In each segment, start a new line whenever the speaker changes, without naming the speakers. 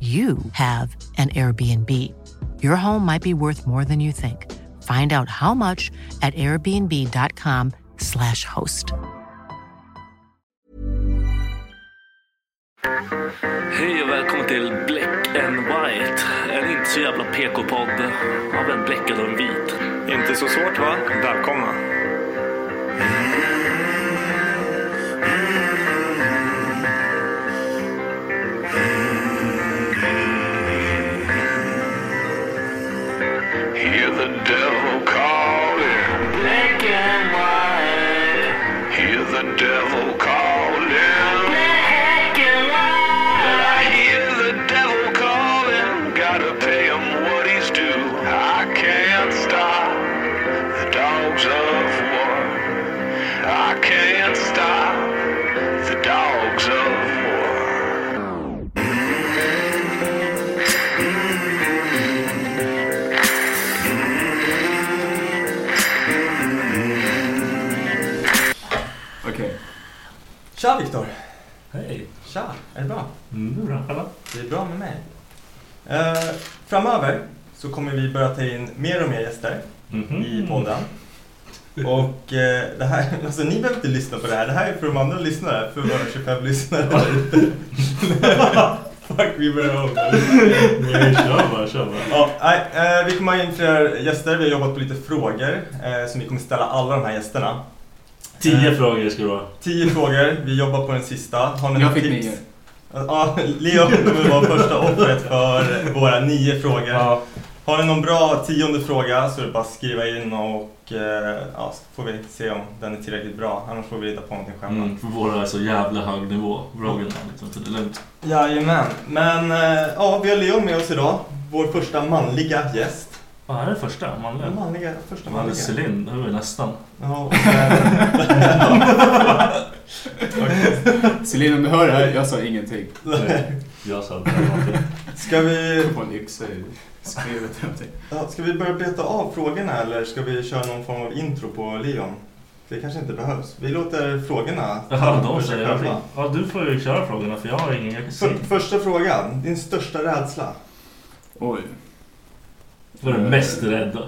you have an Airbnb. Your home might be worth more than you think. Find out how much at airbnb.com/slash host.
Hej och välkommen till Black and White. En inte så jävla PK-podd av en bläckad och en vit.
Inte så svårt va? Välkomna.
Hear the devil calling. Black and white. Hear the devil calling. Black and white. I hear the devil calling. Gotta pay him what he's due. I can't stop the dogs of war. I can't stop the dogs of war.
Okej.
Tja Viktor!
Hej.
Tja, är det bra?
Mm, det är bra. Hallå.
Det är bra med mig. Eh, framöver så kommer vi börja ta in mer och mer gäster
Mhm.
i podden.
Mm.
Och eh, det här, alltså ni behöver inte lyssna på det här, det här är för de andra lyssnare, för våra 25 lyssnare där ute. Fuck, vi börjar om.
Nej, kör bara, kör bara.
Ja, nej, eh, vi kommer ha in fler gäster, vi har jobbat på lite frågor eh, som vi kommer ställa alla de här gästerna.
Tio
Eh,
frågor ska det vara.
Tio frågor, vi jobbar på den sista. Har ni några tips? Ja, Leo kommer vara första offret för våra nio frågor.
Ja.
Har ni någon bra tionde fråga så är det bara att skriva in och eh, ja, så får vi se om den är tillräckligt bra. Annars får vi hitta på någonting själva.
Mm, för våra är så jävla hög nivå. Frågorna liksom, så det är lugnt.
Jajamän, men eh, ja, vi har Leo med oss idag. Vår första manliga gäst.
Vad är det första? Manliga?
Manliga, första
Manliga
manliga.
Céline, det var ju nästan.
Ja, och eh, sen-
Celine, om du hör det här, jag sa ingenting.
Nej, Jag sa det. här var inte-
ska, vi,
Jag får en yxa i skrevet. eller någonting.
ja, ska vi börja beta av frågorna eller ska vi köra någon form av intro på Leon? Det kanske inte behövs. Vi låter frågorna
Jaha,
ta
de
för sig
säger
själva.
allting. Ja, du får ju köra frågorna för jag har ingen. Jag kan
För,
säga.
första frågan, din största rädsla?
Oj. Eh.
Vad är du mest rädda?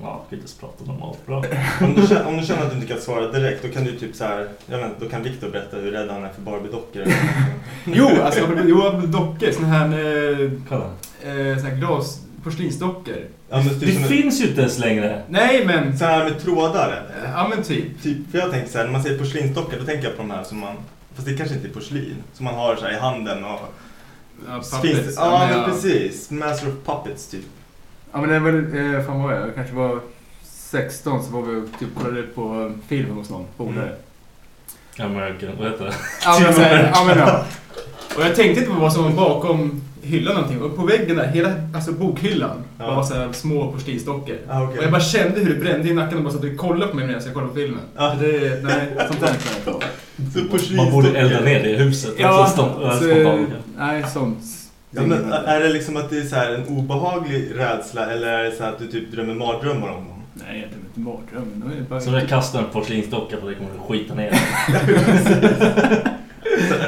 Ja, vi kan inte ens prata om allt bra.
Om du, känner, om du känner att du inte kan svara direkt, då kan du typ så här, jag vet, inte, då kan Viktor berätta hur rädd han är för Barbie-dockor. eller någonting.
Jo, alltså jag blev- jo, jag blev dockor. Såna här, eh,
Kolla.
eh, såna här glas... Porslinsdockor.
Ja, men
Det
typ som en-
finns ju inte ens längre.
Nej, men...
så här med trådar. eller?
Ja, men typ.
Typ, för jag tänker så här, när man säger porslinsdockor, då tänker jag på de här som man, fast det kanske inte är porslin, som man har så här i handen och...
Ja,
Finns det-
puppets.
ja, men
jag-
precis. Master of puppets, typ.
Ja, men det var... Eh, fan vad var jag? Jag kanske var 16 så var vi och typ kollade på en
Mm.
film hos någon polare.
American, vad heter det?
Typ.
Ja, men, så här, ja, men, ja.
Och jag tänkte inte på vad som var bakom hyllan någonting. Och på väggen där, hela alltså bokhyllan,
Ja.
var så här små porslinsdockor.
Ah, okej.
Och jag bara kände hur det brände i nacken och bara satt och kollade på mig medan jag kollade på filmen. Det, nej, sånt där kan jag inte
Man borde elda ner det i huset.
Ja,
Alltså, stom- äh,
så-
spontant.
nej, sånt.
Ja, men, är det liksom att det är så här en obehaglig rädsla eller är det så här att du typ drömmer mardrömmar om dem?
Nej, jag drömmer inte mardrömmar. Det är bara...
Så när jag kastar en porslinsdocka på dig kommer du skita ner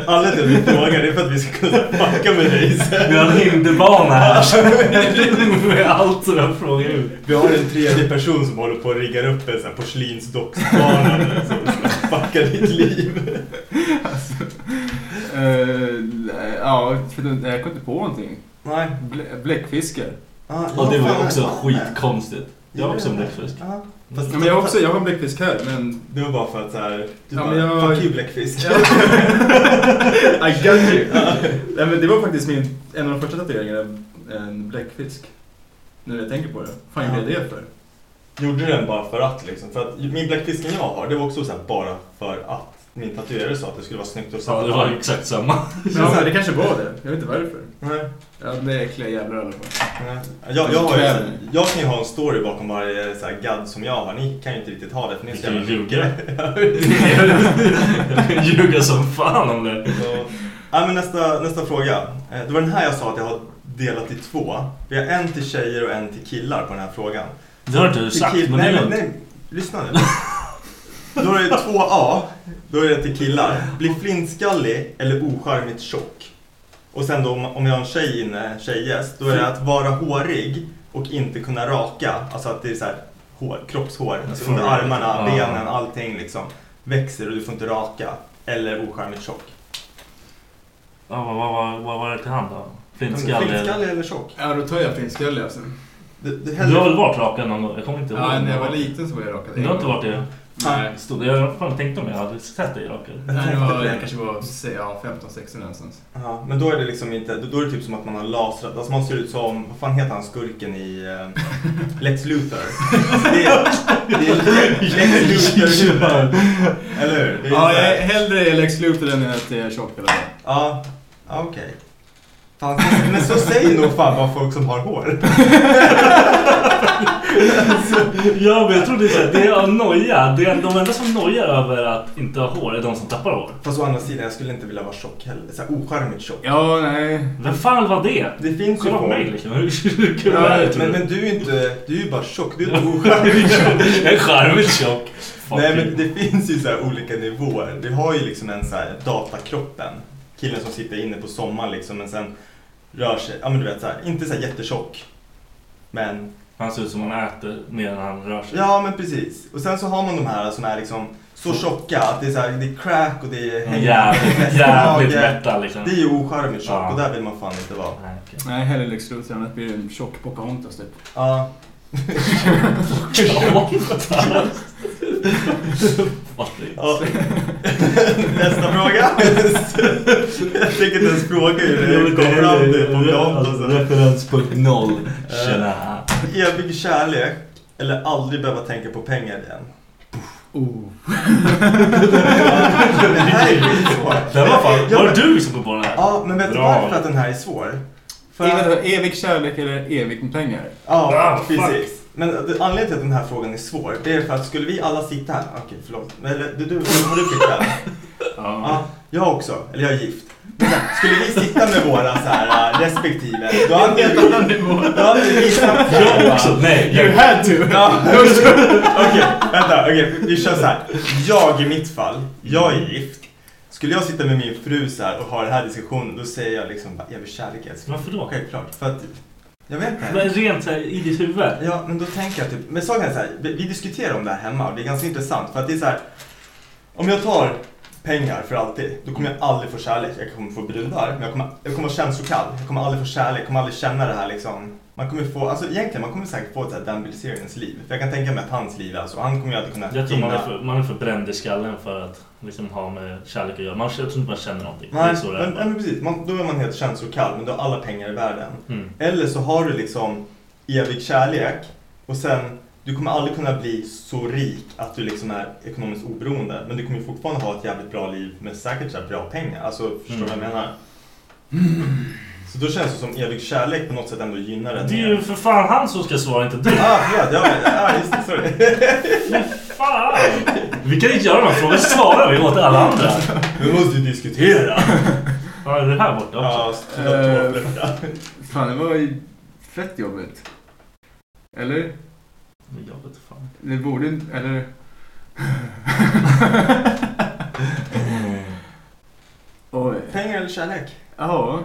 Alla till att vi frågar det är för att vi ska kunna fucka med dig sen.
Vi har en hinderbana här. Med allt som jag frågar ut.
Vi har en tredje person som håller på att riggar upp en sån här porslinsdocksbana som ska fucka ditt liv.
Eh, ja, för den- jag kom inte på någonting.
Nej.
Blä- Bläckfiskar.
Ja,
Ja, det var ju också skitkonstigt. Jag var också en bläckfisk.
Ja.
Ja, men jag också, jag var en bläckfisk här, men...
Det var bara för att så här, du
Ja,
bara,
men jag-
fuck you bläckfisk.
I got you! Nej, men det var faktiskt min, en av de första tatueringarna, en bläckfisk. Nu när jag tänker på det. Fan gjorde jag det för?
Gjorde den bara för att liksom. För att min bläckfisken jag har, det var också så här bara för att. Min tatuerare sa att det skulle vara snyggt att
Ja, det var exakt samma.
Ja, men alltså, det kanske var det. Jag vet inte varför.
Nej.
Ja, det är äckliga jävlar i alla fall.
Ja, Jag, jag, har ju, jag kan ju ha en story bakom varje så här gadd som jag har. Ni kan ju inte riktigt ha det för ni är så
Vi kan
jävla
ju ljuga.
mycket.
Ljuga som fan om det.
Ja. Ja, men nästa, nästa fråga. Eh, Det var den här jag sa att jag har delat i två. Vi har en till tjejer och en till killar på den här frågan.
Det har inte du
Till
sagt,
kill-
men
nej,
det är
men, nej,
lugnt.
lyssna nu. Då är det 2A, då är det till killar. Bli flintskallig eller ocharmigt tjock. Och sen då om- om jag har en tjej inne, tjejgäst, då är det
Mm.
att vara hårig och inte kunna raka. Alltså att det är så här hår, kroppshår, alltså under armarna,
Mm. Ja.
benen, allting liksom växer och du får inte raka. Eller ocharmigt tjock.
Ja, vad, vad, vad, vad var det till hand då? Flintskallig?
Flintskallig eller tjock?
Ja, då tar jag flintskallig alltså.
Du, du,
Du har väl varit rakad någon gång? Jag kommer inte ihåg.
Ja, när jag var liten så var jag rakad.
Du har inte varit det?
Nej.
Stod, jag har fan tänkte om jag hade sett dig rakad.
Nej, det var, jag kanske var säg, ja, 15-16 någonstans.
Ja, men då är det liksom inte, då- då är det typ som att man har lasrat, alltså man ser ut som, vad fan heter han skurken i eh, Lex Luthor? Det är, det är Lex Luthor Eller hur? Det är
Ja,
så här-
jag är hellre Lex Luthor än att jag är tjock eller vad.
Ja, ja okej. Fan, Men så säger nog fan bara folk som har hår.
Ja, men jag tror det är så här, det är av noja. Det är, de enda som nojar över att inte ha hår är de som tappar hår.
Fast å andra sidan, jag skulle inte vilja vara tjock heller. Såhär ocharmigt tjock.
Ja, nej.
Vem fan var det?
Det finns ju
Kolla på
folk.
mig liksom. Hur hur kul är
Ja,
det? tror
men,
du?
men du är ju inte, du är ju bara tjock, du är inte ocharmig
Jag är charmigt tjock. Fuck
Nej
you.
men det finns ju så här olika nivåer. Vi har ju liksom en så här datakroppen. Killen som sitter inne på sommaren liksom men sen rör sig, ja men du vet så här, inte så här jättetjock. Men,
Han ser ut som han äter mer än han rör sig.
ja men precis. Och sen så har man de här som är liksom så tjocka att det är så här, det är crack och det är
Mm, jävligt- jävligt mätta, liksom.
Det är ju ocharmigt tjock
Ja.
och där vill man fan inte vara.
Nej, okej.
Nej, hellre Lex Luthor än att bli en tjock Pocahontas typ.
Ja. Ja. Nästa fråga. Jag tänker inte ens fråga hur det kom fram till Pocahontas.
Referenspunkt noll. Tjena.
Evig kärlek eller aldrig behöva tänka på pengar igen?
Oh.
Det här är skitsvårt.
Det var fan,
Ja,
var
men-
det du som kom på den här?
Ja, men vet du
Bra.
varför att den här är svår? För
Är
att,
det Evig kärlek eller evigt med pengar?
ja,
Ah, fuck.
precis. Men det- anledningen till att den här frågan är svår, det är för att skulle vi alla sitta här, okej förlåt, men eller, du, du, får du flicka? Ja, jag också, eller jag är gift. Men, skulle vi sitta med våra så här, äh, respektive, då hade vi... Då hade vi satt så här,
Jag
va?
också, Alltså, nej.
You
Jag,
had to!
Ja, Okej, vänta. Okej, vi kör så här. Jag i mitt fall, jag är gift. Skulle jag sitta med min fru så här och ha den här diskussionen, då säger jag liksom bara, jag vill kärlek älskling.
varför då?
Självklart, för att jag vet inte.
Men rent så här, i ditt huvud.
Ja, men då tänker jag typ, men saken är så här, vi vi diskuterar om det här hemma och det är ganska intressant för att det är så här, om jag tar pengar för alltid, då kommer jag aldrig få kärlek. Jag kommer få brudar, men jag kommer, jag kommer vara känslokall. Jag kommer aldrig få kärlek, jag kommer aldrig känna det här liksom. Man kommer få, alltså egentligen, man kommer säkert få ett så här Dan Bilzerians liv. För jag kan tänka mig att hans liv, alltså, han kommer ju aldrig kunna
Jag tror man är,
hinna-
för, man är för bränd i skallen för att liksom ha med kärlek att göra. Man, jag tror inte man känner någonting. det
Nej,
är så det
men, nej,
är.
men precis. Man, då är man helt känslokall, men du har alla pengar i världen.
Mm.
Eller så har du liksom evig kärlek och sen, du kommer aldrig kunna bli så rik att du liksom är ekonomiskt
Mm.
oberoende. Men du kommer ju fortfarande ha ett jävligt bra liv med säkert så här bra pengar. Alltså, förstår du vad jag menar?
Så då känns det som evig kärlek på något sätt ändå gynnar den.
Det är ju för fan han som ska svara, inte du.
Ah, förlåt. Ja, men- ah, just det. Sorry.
Fan! Vi kan inte göra de här frågorna, svarar vi åt alla andra.
Vi måste ju diskutera.
Ja, är det här borta också?
Eh, fan, det var ju fett jobbigt. Eller?
Jobbet, fan.
Det borde inte... Eller? Oj.
Pengar eller kärlek?
Ja.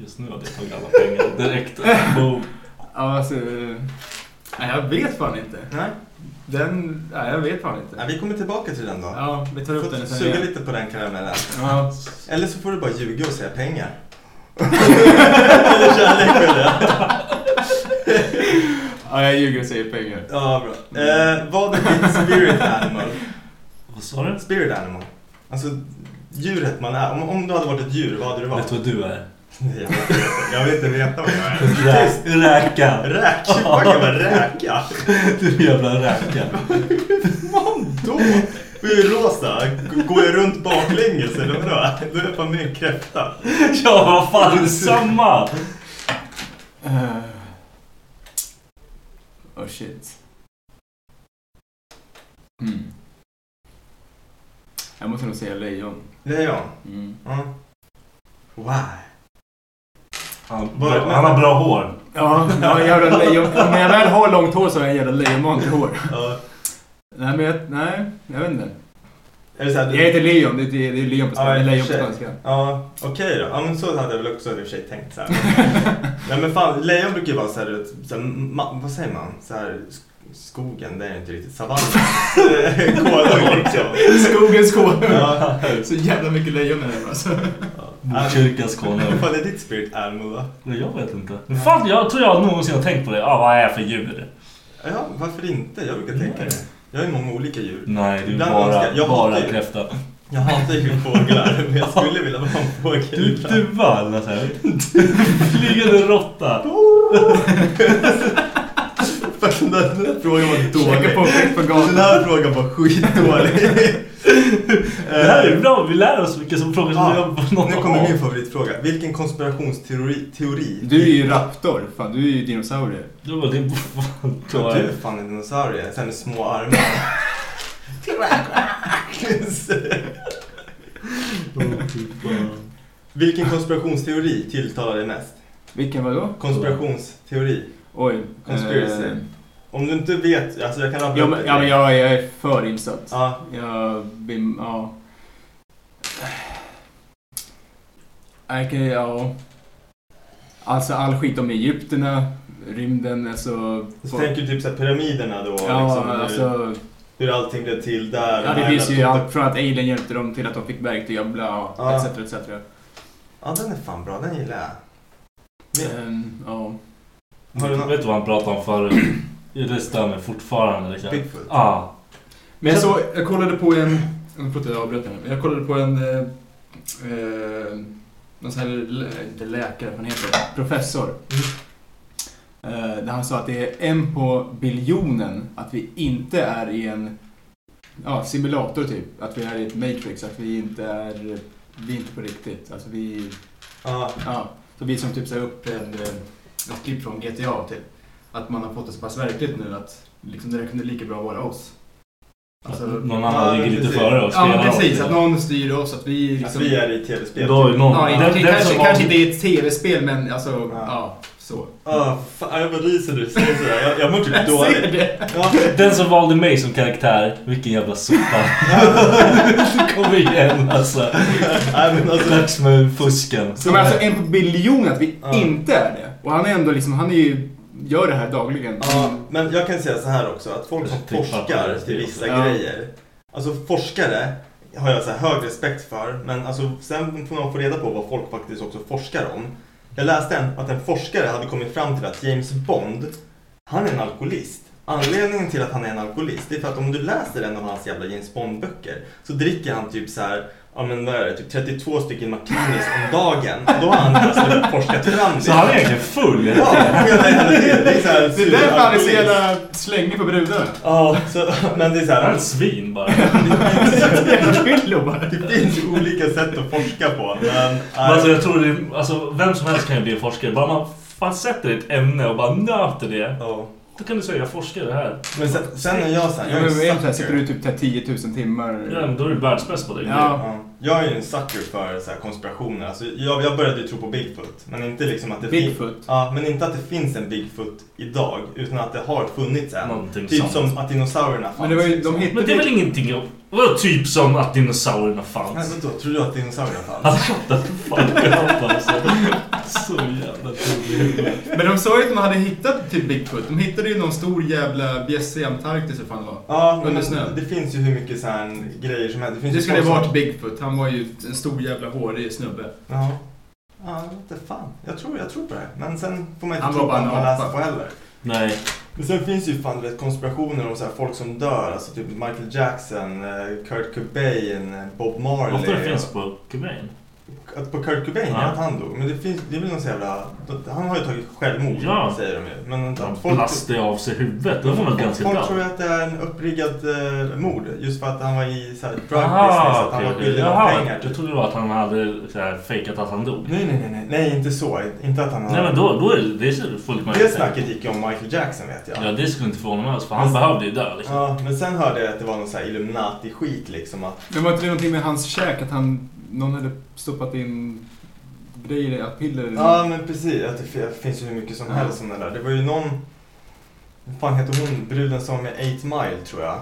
Just nu hade jag tagit alla pengar direkt. Boom.
Ja, alltså... eh, Nej, jag vet fan inte.
Nej.
Den... Nej, jag vet fan inte.
Nej, vi kommer tillbaka till den då.
Ja, vi tar upp
Får
den sen
Suga
igen.
lite på den karamellen.
Ja.
Eller så får du bara ljuga och säga pengar. eller kärlek eller?
Ja, jag ljuger och säger pengar.
Ja, bra. Eh, vad är ditt spirit animal?
Vad sa du?
Spirit animal. Alltså, djuret man är. Om, om du hade varit ett djur, vad hade du varit?
Vet du vad du är?
Nej, jag vet inte. Jag vill inte veta vad jag är.
Rä- Räka.
Räk? Vad kan man räka?
Du är en jävla räka.
Då? Vi är ju rosa. G- Går jag runt baklänges eller vadå? Då är jag fan med en kräfta.
Ja, vad fan, det är samma.
Eh. Oh shit. Mm. Jag måste nog säga lejon.
Lejon?
Mm.
Mm. Why?
Han,
Vad-
han har bra hår.
Ja, ja jävla lejon. När jag väl har långt hår så har jag jävla lejonmantelhår.
Ja.
Nej, men jag, nej, jag vet inte.
Är det så här,
Jag heter Leon. Det, det, det är Leon på
Ja,
spanska.
i och för
lejon på
sig.
spanska.
Ja, okej då. Ja, men så hade jag väl också i och för sig tänkt så här. Nej men fan, lejon brukar ju vara så här, du vet, så här ma- vad säger man? Så här, sk- skogen, det är inte riktigt savannen. Eh, Koalung liksom.
Skogens konung.
Ja.
Så jävla mycket lejon är det alltså.
Botkyrkas konung.
Vad fan är ditt spirit animal då?
Nej, Jag vet inte. Fan, jag tror jag någonsin har tänkt på det. Ah, vad är jag för djur?
Ja, varför inte? Jag brukar tänka det. Jag har ju många olika djur.
Nej, du är
Ibland önskar-
bara,
jag
bara
hatar ju-
kräfta.
Jag hatar ju fåglar, men jag skulle vilja vara en fågel.
Du är duva eller såhär. Flygande råtta.
Fan, Den här frågan var
Käka
dålig.
pommes frites på
Den
gatan.
här frågan var skitdålig.
Det här är bra, vi lär oss mycket som frågor som vi
Ja,
har någon
nu kommer min
av.
favoritfråga. Vilken konspirationsteori... Teori?
Du är ju raptor. Fan, du är ju dinosaurie.
Det var din...
Ja, Du är fan en dinosaurie. Sen med små armar. Vilken konspirationsteori tilltalar dig mest?
Vilken var då?
Konspirationsteori.
Oj.
Conspiracy.
eh,
Om du inte vet, alltså jag kan rabbla
Ja
upp
men,
det
ja,
till
men
dig.
jag, jag är för insatt.
Ja,
Jag blir... Ja. Nej, Okej, ja. Alltså all skit om egyptierna, rymden, alltså...
så tänker du typ såhär pyramiderna då?
ja,
liksom, hur-
alltså...
Hur allting blev till där.
Ja, det
och
finns ju
jävla-
allt från att alien hjälpte dem till att de fick verktyg, ja, bla,
Ja.
ja. etc, etc.
Ja, den är fan bra. Den gillar jag. Men-
Ehm, Ja.
Har du någon-
Vet du vad han pratade om förut? Det stämmer fortfarande. Liksom.
Bigfoot.
Ah.
Men jag, så, jag kollade på en... Nu får inte jag avbryta nu. men Jag kollade på en... Eh, eh, någon sån här, lä- inte läkare, vad heter det? Professor. Eh, där han sa att det är en på biljonen att vi inte är i en ja, simulator typ. Att vi är i ett matrix, att vi inte är... Vi är inte på riktigt. Alltså vi...
Ja,
Ja, så vi som typ så här upp en, eh, ett klipp från GTA typ. Att man har fått det så pass verkligt nu att liksom, det där kunde lika bra vara oss. Alltså,
någon
ja,
annan ligger
precis.
lite före och
ja,
spelar.
men precis.
oss.
Att någon styr oss. Att vi liksom...
att vi är i tv-spel.
Då är någon...
ja,
den,
kanske,
den
kanske,
som
kanske inte i ett tv-spel, men alltså, ja,
Ja.
så.
Ja, fan, jag bara ryser nu. Säger sådär. Jag, jag mår typ
Jag ser
dåligt.
det.
Ja,
Den som valde mig som karaktär, vilken jävla sopa. Kom igen alltså.
nej, men alltså,
Dags med fusken.
Så men alltså en på biljon att vi
Ja.
inte är det. Och han är ändå liksom, han är ju, gör det här dagligen.
Ja, men jag kan säga så här också att folk som
Jag tycker
forskar
att det är
till vissa
också. Ja.
grejer. Alltså forskare har jag så här hög respekt för, men alltså, sen får man få reda på vad folk faktiskt också forskar om. Jag läste en, att en forskare hade kommit fram till att James Bond, han är en alkoholist. Anledningen till att han är en alkoholist det är för att om du läser en av hans jävla James Bond-böcker så dricker han typ så här
ja men vad är det, typ 32 stycken martinis om dagen. Då har han alltså forskat fram det.
Så han är egentligen full?
Ja, jag menar det. Det är så här
Det är därför han är så
superalkoholist.
jävla slängig på brudarna.
Ja, så, men det är så här.
Han är ett svin bara.
Det finns olika sätt att forska på. Men,
Men alltså, jag tror det, är- alltså, vem som helst kan ju bli en forskare. Bara man fan sätter ett ämne och bara nöter det. Då kan du säga jag forskar i det här.
Men sen, sen är jag så här,
Ja,
jag är
men vad är det
en
så här,
sucker.
sitter du typ så här 10 000 timmar?
Ja, men då är du världsbäst på det.
Ja.
Jag är ju en sucker för så här konspirationer. Alltså, jag, jag började ju tro på Bigfoot. Men inte, liksom att det fin-
Bigfoot?
ja, men inte att det finns en Bigfoot idag. Utan att det har funnits en.
Någonting
typ
sånt.
som att dinosaurierna fanns. liksom.
Men det var ju, de hittade
Men det är väl
ju-
ingenting att... Vadå typ som att dinosaurierna
Nej,
fanns?
vadå? Tror du att dinosaurierna fanns?
Alltså, what the fuck up alltså. Så jävla dum.
Men de sa ju att de hade hittat typ Bigfoot. De hittade ju någon stor jävla bjässe i Antarktis eller fan det var.
Ja, men
Under snön.
det finns ju hur mycket så här grejer som typ helst. Det, finns
Det
ju
skulle ha
folk som-
varit Bigfoot. Han var ju en stor jävla hårig snubbe.
Ja. Ja, jag vet inte fan. Jag tror, jag tror på det. Men sen får man
Han
inte tro
var
på allt
bara
man
en
läser
apa.
på heller.
Nej.
Men sen finns ju fan du vet, konspirationer om så här folk som dör. Alltså typ Michael Jackson, eh, Kurt Cobain, eh, Bob Marley.
Ofta det finns på Kubain.
Att på Kurt Cobain,
Ja.
ja. att han dog. Men det, finns, det är väl någon så jävla... Han har ju tagit självmord,
Ja.
säger de ju. Men att
Han
folk,
plastade av sig huvudet. Det var väl ganska
folk
bra.
tror ju att det är en uppriggad eh, mord. Just för att han var i så här, drug business,
Aha,
att han
okej,
var
okej.
skyldig någon
Jaha,
pengar.
Jag
Typ.
trodde det var att han hade så här, fejkat att han dog.
Nej, nej, nej, nej, nej, inte så. Inte att han har...
Nej men då, då är det, det är fullt möjligt.
Det snacket gick ju om Michael Jackson vet jag.
Ja det skulle inte förvåna mig alls för
Men-
han behövde ju dö liksom.
Ja, men sen hörde jag att det var någon så här Illuminati-skit liksom. Att,
Men var inte det någonting med hans käk? Att han, någon hade stoppat in grejer, i- piller? eller
ja, men precis. Att det fi- finns ju hur mycket som
Ja.
helst om det där. Det var ju någon... Vad fan heter hon? Bruden som är 8 Mile tror jag.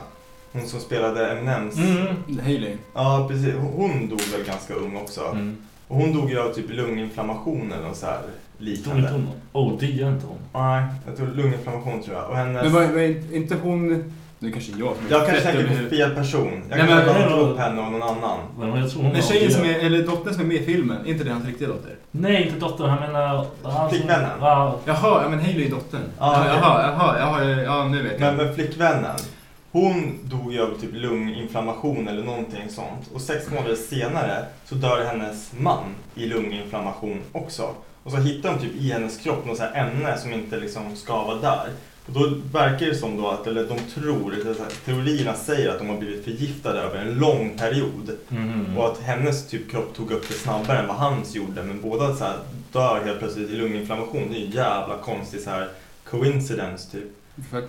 Hon som spelade Eminems.
Mm.
Hailey.
Ja, precis. Hon- Hon dog väl ganska ung också.
Mm.
Och hon dog ju av typ lunginflammation eller något så här
Dog inte
liknande.
hon? Oh, det gör inte hon.
Nej, jag tror lunginflammation tror jag. Och hennes...
Men var, var inte hon... Nu kanske jag som är
Jag kanske
fett
tänker
över-
på fel person. Jag
Nej,
kanske
men-
bara tror på henne och någon annan.
Nej, men jag tror hon
Men
var
tjejen
död.
som är, eller dottern som är med i filmen, är inte det hans riktiga dotter?
Nej inte dotter, han menar... han som-
Flickvännen?
Ja.
Jaha, ja men Hailey är dottern.
Ja,
Ja,
okej.
jaha, jaha, jaha, ja, ja nu vet jag.
Men, men flickvännen, hon dog ju av typ lunginflammation eller någonting sånt. Och sex månader senare så dör hennes man i lunginflammation också. Och så hittar de typ i hennes kropp något så här ämne som inte liksom ska vara där. Och då verkar det som då att, eller de tror, eller så här, teorierna säger att de har blivit förgiftade över en lång period.
Mhm.
Och att hennes typ kropp tog upp det snabbare än vad hans gjorde. Men båda så här dör helt plötsligt i lunginflammation. Det är ju en jävla konstig så här coincidence typ.
Fuck.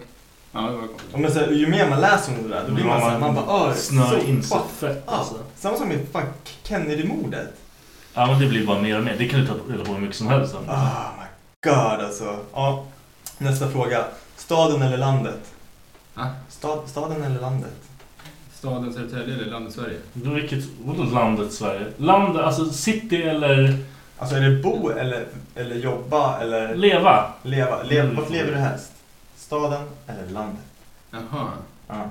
Ja, det var konstigt.
Ja, men så här, ju mer man läser om det där, då blir man, så här, man bara "Ah,
Mm. Snör
så
in sig
fuck
fett
up."
alltså.
Samma som med fuck Kennedy-mordet.
Ja men det blir bara mer och mer. Det kan du ta reda på hur mycket som helst sen.
Oh my god alltså. Ja, nästa fråga. Staden eller landet?
Ah,
Stad, staden eller landet?
staden Södertälje eller landet Sverige?
Då Vilket, vadå landet Sverige? Land, alltså city eller
Alltså är det bo eller, eller jobba eller
leva?
leva? Le,
Mm.
vart lever du helst? Staden eller landet?
Jaha.
Ja.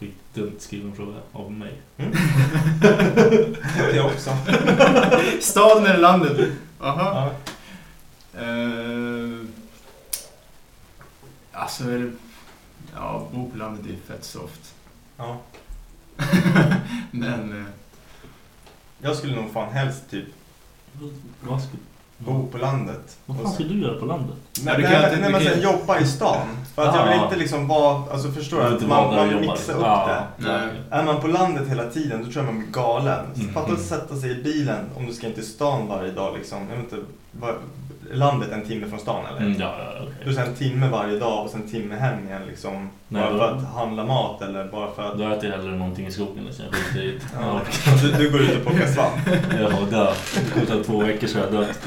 Skitdumt skriven fråga av mig.
Det är också.
Staden eller landet? Jaha.
Ja.
Eh, alltså, är det- ja, bo på landet är ju fett soft.
Ja.
Men, eh,
Jag skulle nog fan helst typ
Vad ska,
bo på landet.
vad
Och
fan
så-
ska du göra på landet?
Nej,
Ja, du
nej,
kan
men-
inte-
nej,
du
men
kan-
sen jobba i stan. För att jag vill
Ah.
inte liksom vara, alltså förstår du?
vill
Att
inte
man
vara där
man
och jobba,
mixar
liksom.
upp
Ja,
det.
nej.
Är man på landet hela tiden då tror jag man blir galen. Så
Mhm.
Fatta att sätta sig i bilen om du ska in till stan varje dag liksom. Jag vet inte, var, landet en timme från stan eller?
Mm, ja, ja, okej.
Du sen en timme varje dag och sen en timme hem igen liksom.
Nej,
bara
då-
för att handla mat eller bara för att...
Då äter jag hellre någonting i skogen liksom. Jag skiter i det.
Ja.
Ja.
Du, du går ut och plockar svamp.
Jag dör. Det kommer ta två veckor så har jag dött.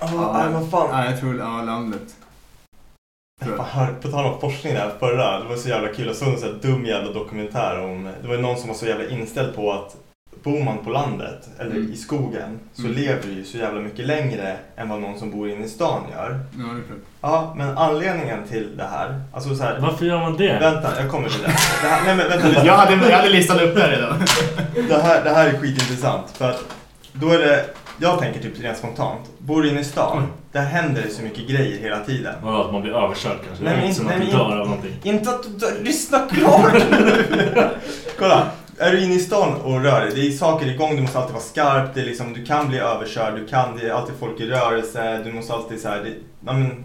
Ja, nej, vad fan.
ja, jag tror ja, landet. Tror
Fan,
jag.
hör- På tal om forskning där förra, det var så jävla kul. Jag såg en sån här dum jävla dokumentär om, det var någon som var så jävla inställd på att bor man på landet eller
Mm.
i skogen så
Mm.
lever du ju så jävla mycket längre än vad någon som bor inne i stan gör.
Ja, det är klart.
Ja, men anledningen till det här, alltså så här,
Varför gör man det?
vänta, jag kommer till det. det här, nej men vänta, lyssna.
hade, jag hade listan uppe redan.
Det här, det här är skitintressant. För att då är det
Jag tänker typ rent spontant, bor du inne i stan, där händer det så mycket grejer hela tiden.
Vadå, att man blir överkörd kanske?
Nej, men,
Som
nej,
att
men,
du dör av någonting?
Inte att du dör, lyssna klart! Kolla, är du inne i stan och rör dig, det är saker igång, du måste alltid vara skarp, det är liksom, du kan bli överkörd, du kan, det är alltid folk i rörelse, du måste alltid så här, det, ja, men,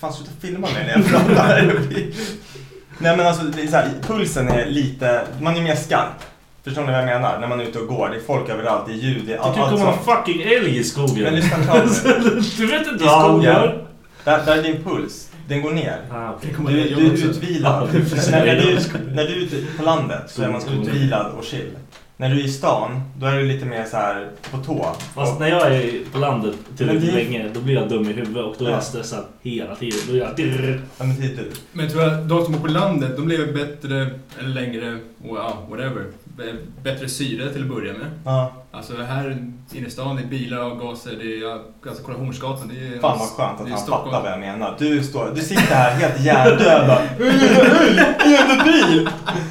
fan sluta filma mig när jag pratar. nej men alltså, det är så här, pulsen är lite,
eh,
man är mer skarp. Förstår ni vad jag menar? När man är ute och går, det är folk överallt, det är ljud, det är
Det
allt,
kan
allt
komma en
sånt.
fucking älg i skogen.
alltså- Men lyssna klart nu.
Du vet inte
I
vad han
skogen,
gör.
där, där är din puls. Den går ner.
okej.
Ah, Du,
Det kommer
du är
också.
utvilad.
Ja, precis.
när, när, du, när du är ute på landet så är man utvilad och chill. När du är i stan, då är du lite mer så här på tå.
Fast när jag är på landet tillräckligt
Men det-
länge, då blir jag dum i huvudet och då är
Ja.
jag stressad hela tiden. Då är jag... dirr.
Ja, men det är
typ-
du.
Men tror jag de som bor på landet, de lever bättre, eller längre, och ja, whatever. B- Bättre syre till att börja med.
Ja.
Alltså här inne i stan, det är bilar och gaser, det är, ja, alltså kolla Hornsgatan, det är...
Fan vad skönt
det
att
är
han
Stockholm.
fattar vad jag menar. Du, står, du sitter här helt hjärndöd bara, "Hej, Jävla bil!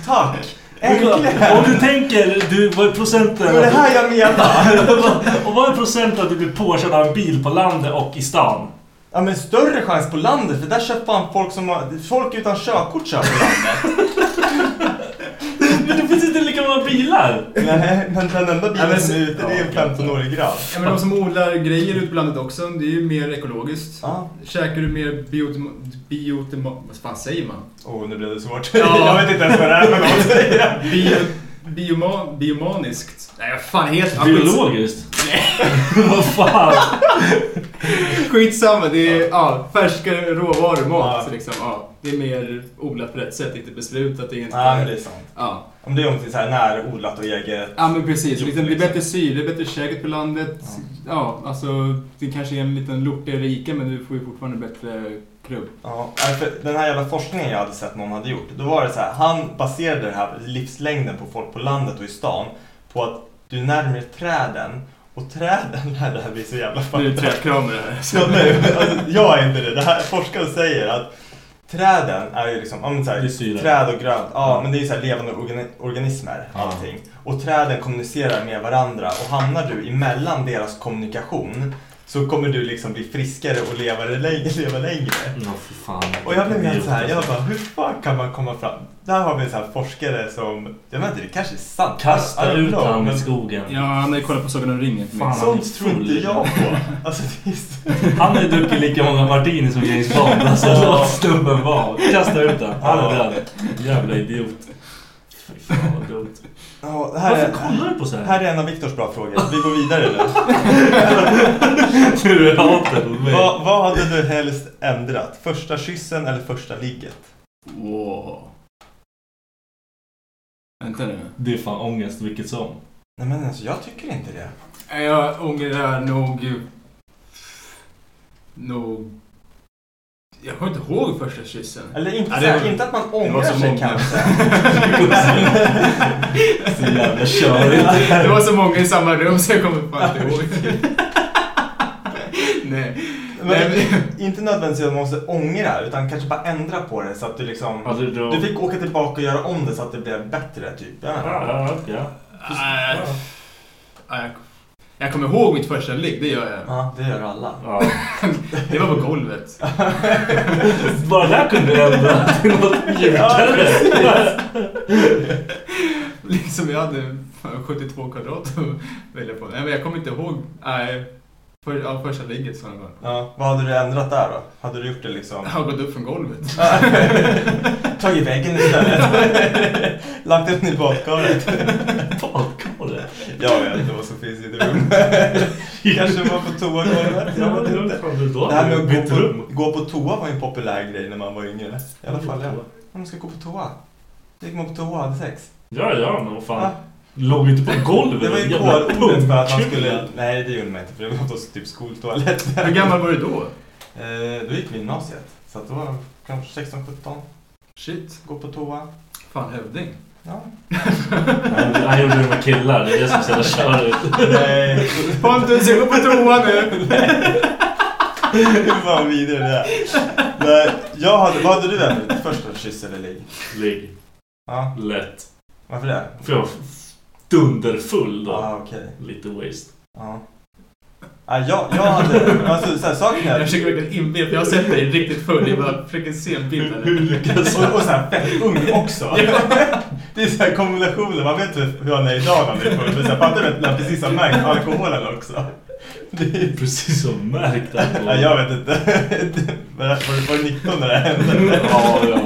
Tack! Äntligen!
Om du tänker, du, vad är procenten?
Det var det här jag menar.
och vad är procenten att du blir påkörd av en bil på landet och i stan?
Ja men större chans på landet för där kör fan folk som har, folk utan körkort kör på landet.
Men det finns inte lika många bilar.
Nej, men den enda bilen
Ja, men-
som är ute det är en 15-årig grabb.
Ja, men de som odlar grejer ute på landet också, det är ju mer ekologiskt.
Ja.
Käkar du mer biotima... biotima vad fan säger man?
Åh, nu blev det svårt. Jag vet inte ens vad det är för något.
Bio, bioma, biomaniskt. Nej, vad fan heter det?
Biologiskt? vad fan?
Skitsamma, det är ja, färska råvaror, mat. Liksom, ja. Det är mer odlat på rätt sätt, inte besprutat. Det är inte
Ja, men det är sant.
Ja.
Om det är någonting så här närodlat och eget.
Ja men precis, liksom, det är bättre syre, bättre käket på landet. Ja, alltså det kanske är en liten lortigare rika men du får ju fortfarande bättre krubb.
Ja, nej, för den här jävla forskningen jag hade sett någon hade gjort. Då var det så här, han baserade den här livslängden på folk på landet och i stan på att du är närmare träden och träden, det här blir så jävla
Nu är det
fucked up.
trädkramare här.
Ja, nej, men alltså, jag är inte det. det här, forskare säger att träden är ju liksom, ja, men så
Det är syre. Mm.
här, träd och grönt, ja men det är ju så här levande organi- organismer
Ja.
allting. Och träden kommunicerar med varandra och hamnar du emellan deras kommunikation så kommer du liksom bli friskare och leva längre. Leva längre.
Mm, Ja, för fan.
Och jag blev helt så här,
alltså.
jag bara, hur fan kan man komma fram? Där har vi en så här forskare som, jag vet inte, det kanske är sant. I
Kasta
don't
ut
know,
han i
men
skogen.
Ja, han har ju kollat på Sagan om Liksom. ringen.
Fan, han är
Sånt tror inte
otrolig.
jag på. Alltså, det är så-
Han har ju druckit lika många martini som James Bond. Alltså låt snubben vara. Kasta ut den. Han är död. Jävla idiot. Fy fan vad dumt.
Ja, det här
Varför
är,
kollar du på så här?
här är en av Viktors bra frågor. Vi går vidare nu.
Nu är det hatet mot mig.
vad, vad hade du helst ändrat? Första kyssen eller första ligget?
Wow. Vänta nu.
Det är fan ångest vilket som.
Nej men alltså jag tycker inte det.
Jag ångrar nog... Nog... Jag kommer inte ihåg första kyssen.
Eller inte,
Ja,
så
det
här,
var-
inte att man
det var
ångrar
så
sig
många.
kanske.
Så jävla körigt.
Det var så många i samma rum så jag kommer fan inte ihåg. Nej.
men, inte nödvändigtvis att man måste ångra utan kanske bara ändra på det så att du liksom...
Ja, du, du...
Du fick åka tillbaka och göra om det så att det blev bättre typ. Jag vet inte.
Ja, ja, ja.
Äh, jag, jag kommer ihåg mitt första ligg, det gör jag.
Ja, det gör alla.
ja.
Det var på golvet.
Bara där kunde du ändra till något mjukare.
Liksom jag hade fan 72 kvadrat att välja på. Nej men jag kommer inte ihåg. Nej. För, ja, första ligget sa jag bara.
Ja, vad hade du ändrat där då? Hade du gjort det liksom...
Jag har gått upp från golvet.
Tagit väggen istället? Lagt upp den i badkaret?
Badkaret.
Jag vet inte vad som finns i ditt rum. Kanske var på toagolvet? Jag vet inte. Det här med att gå på, gå på toa var ju en populär grej när man var yngre. I alla fall jag. Ja, Man ska gå på toa. Då gick man på toa och hade sex.
Ja, ja, men vad fan.
Ja.
Låg inte på golvet.
Det var ju
Jävla
kårordet för att man
punkkula.
skulle... Nej, det gjorde man inte för det var på typ skoltoaletten.
Hur gammal var du då?
Eh, då gick vi i gymnasiet. Så att då var jag kanske 16-17.
Shit.
Gå på toa.
Fan hövding.
Ja.
Han- Han gjorde det med killar. Det är det som är så jävla körigt.
Nej,
Pontus, jag går på toa nu.
hur fan vidare det där. Nej, jag hade, vad hade du ändrat? Första kyss eller ligg?
Ligg.
Ja,
Lätt.
varför det?
Ah,
För jag var dunderfull då.
Ja, okej.
Lite waste.
Ja.
Ja, Ah, jag, jag hade... Alltså, så här, saken är...
Jag försöker verkligen inbilla för jag har sett dig riktigt full. Jag bara försöker se en bild där.
och, och så här fett ung också. Det är så här kombinationer. Man vet inte hur han är idag när han är full. Men så här, fattar du att han precis har märkt alkoholen också?
Precis som märkt alkohol.
Ja, jag vet inte. Var, var, var du 19 när det här hände?
Ja, ja.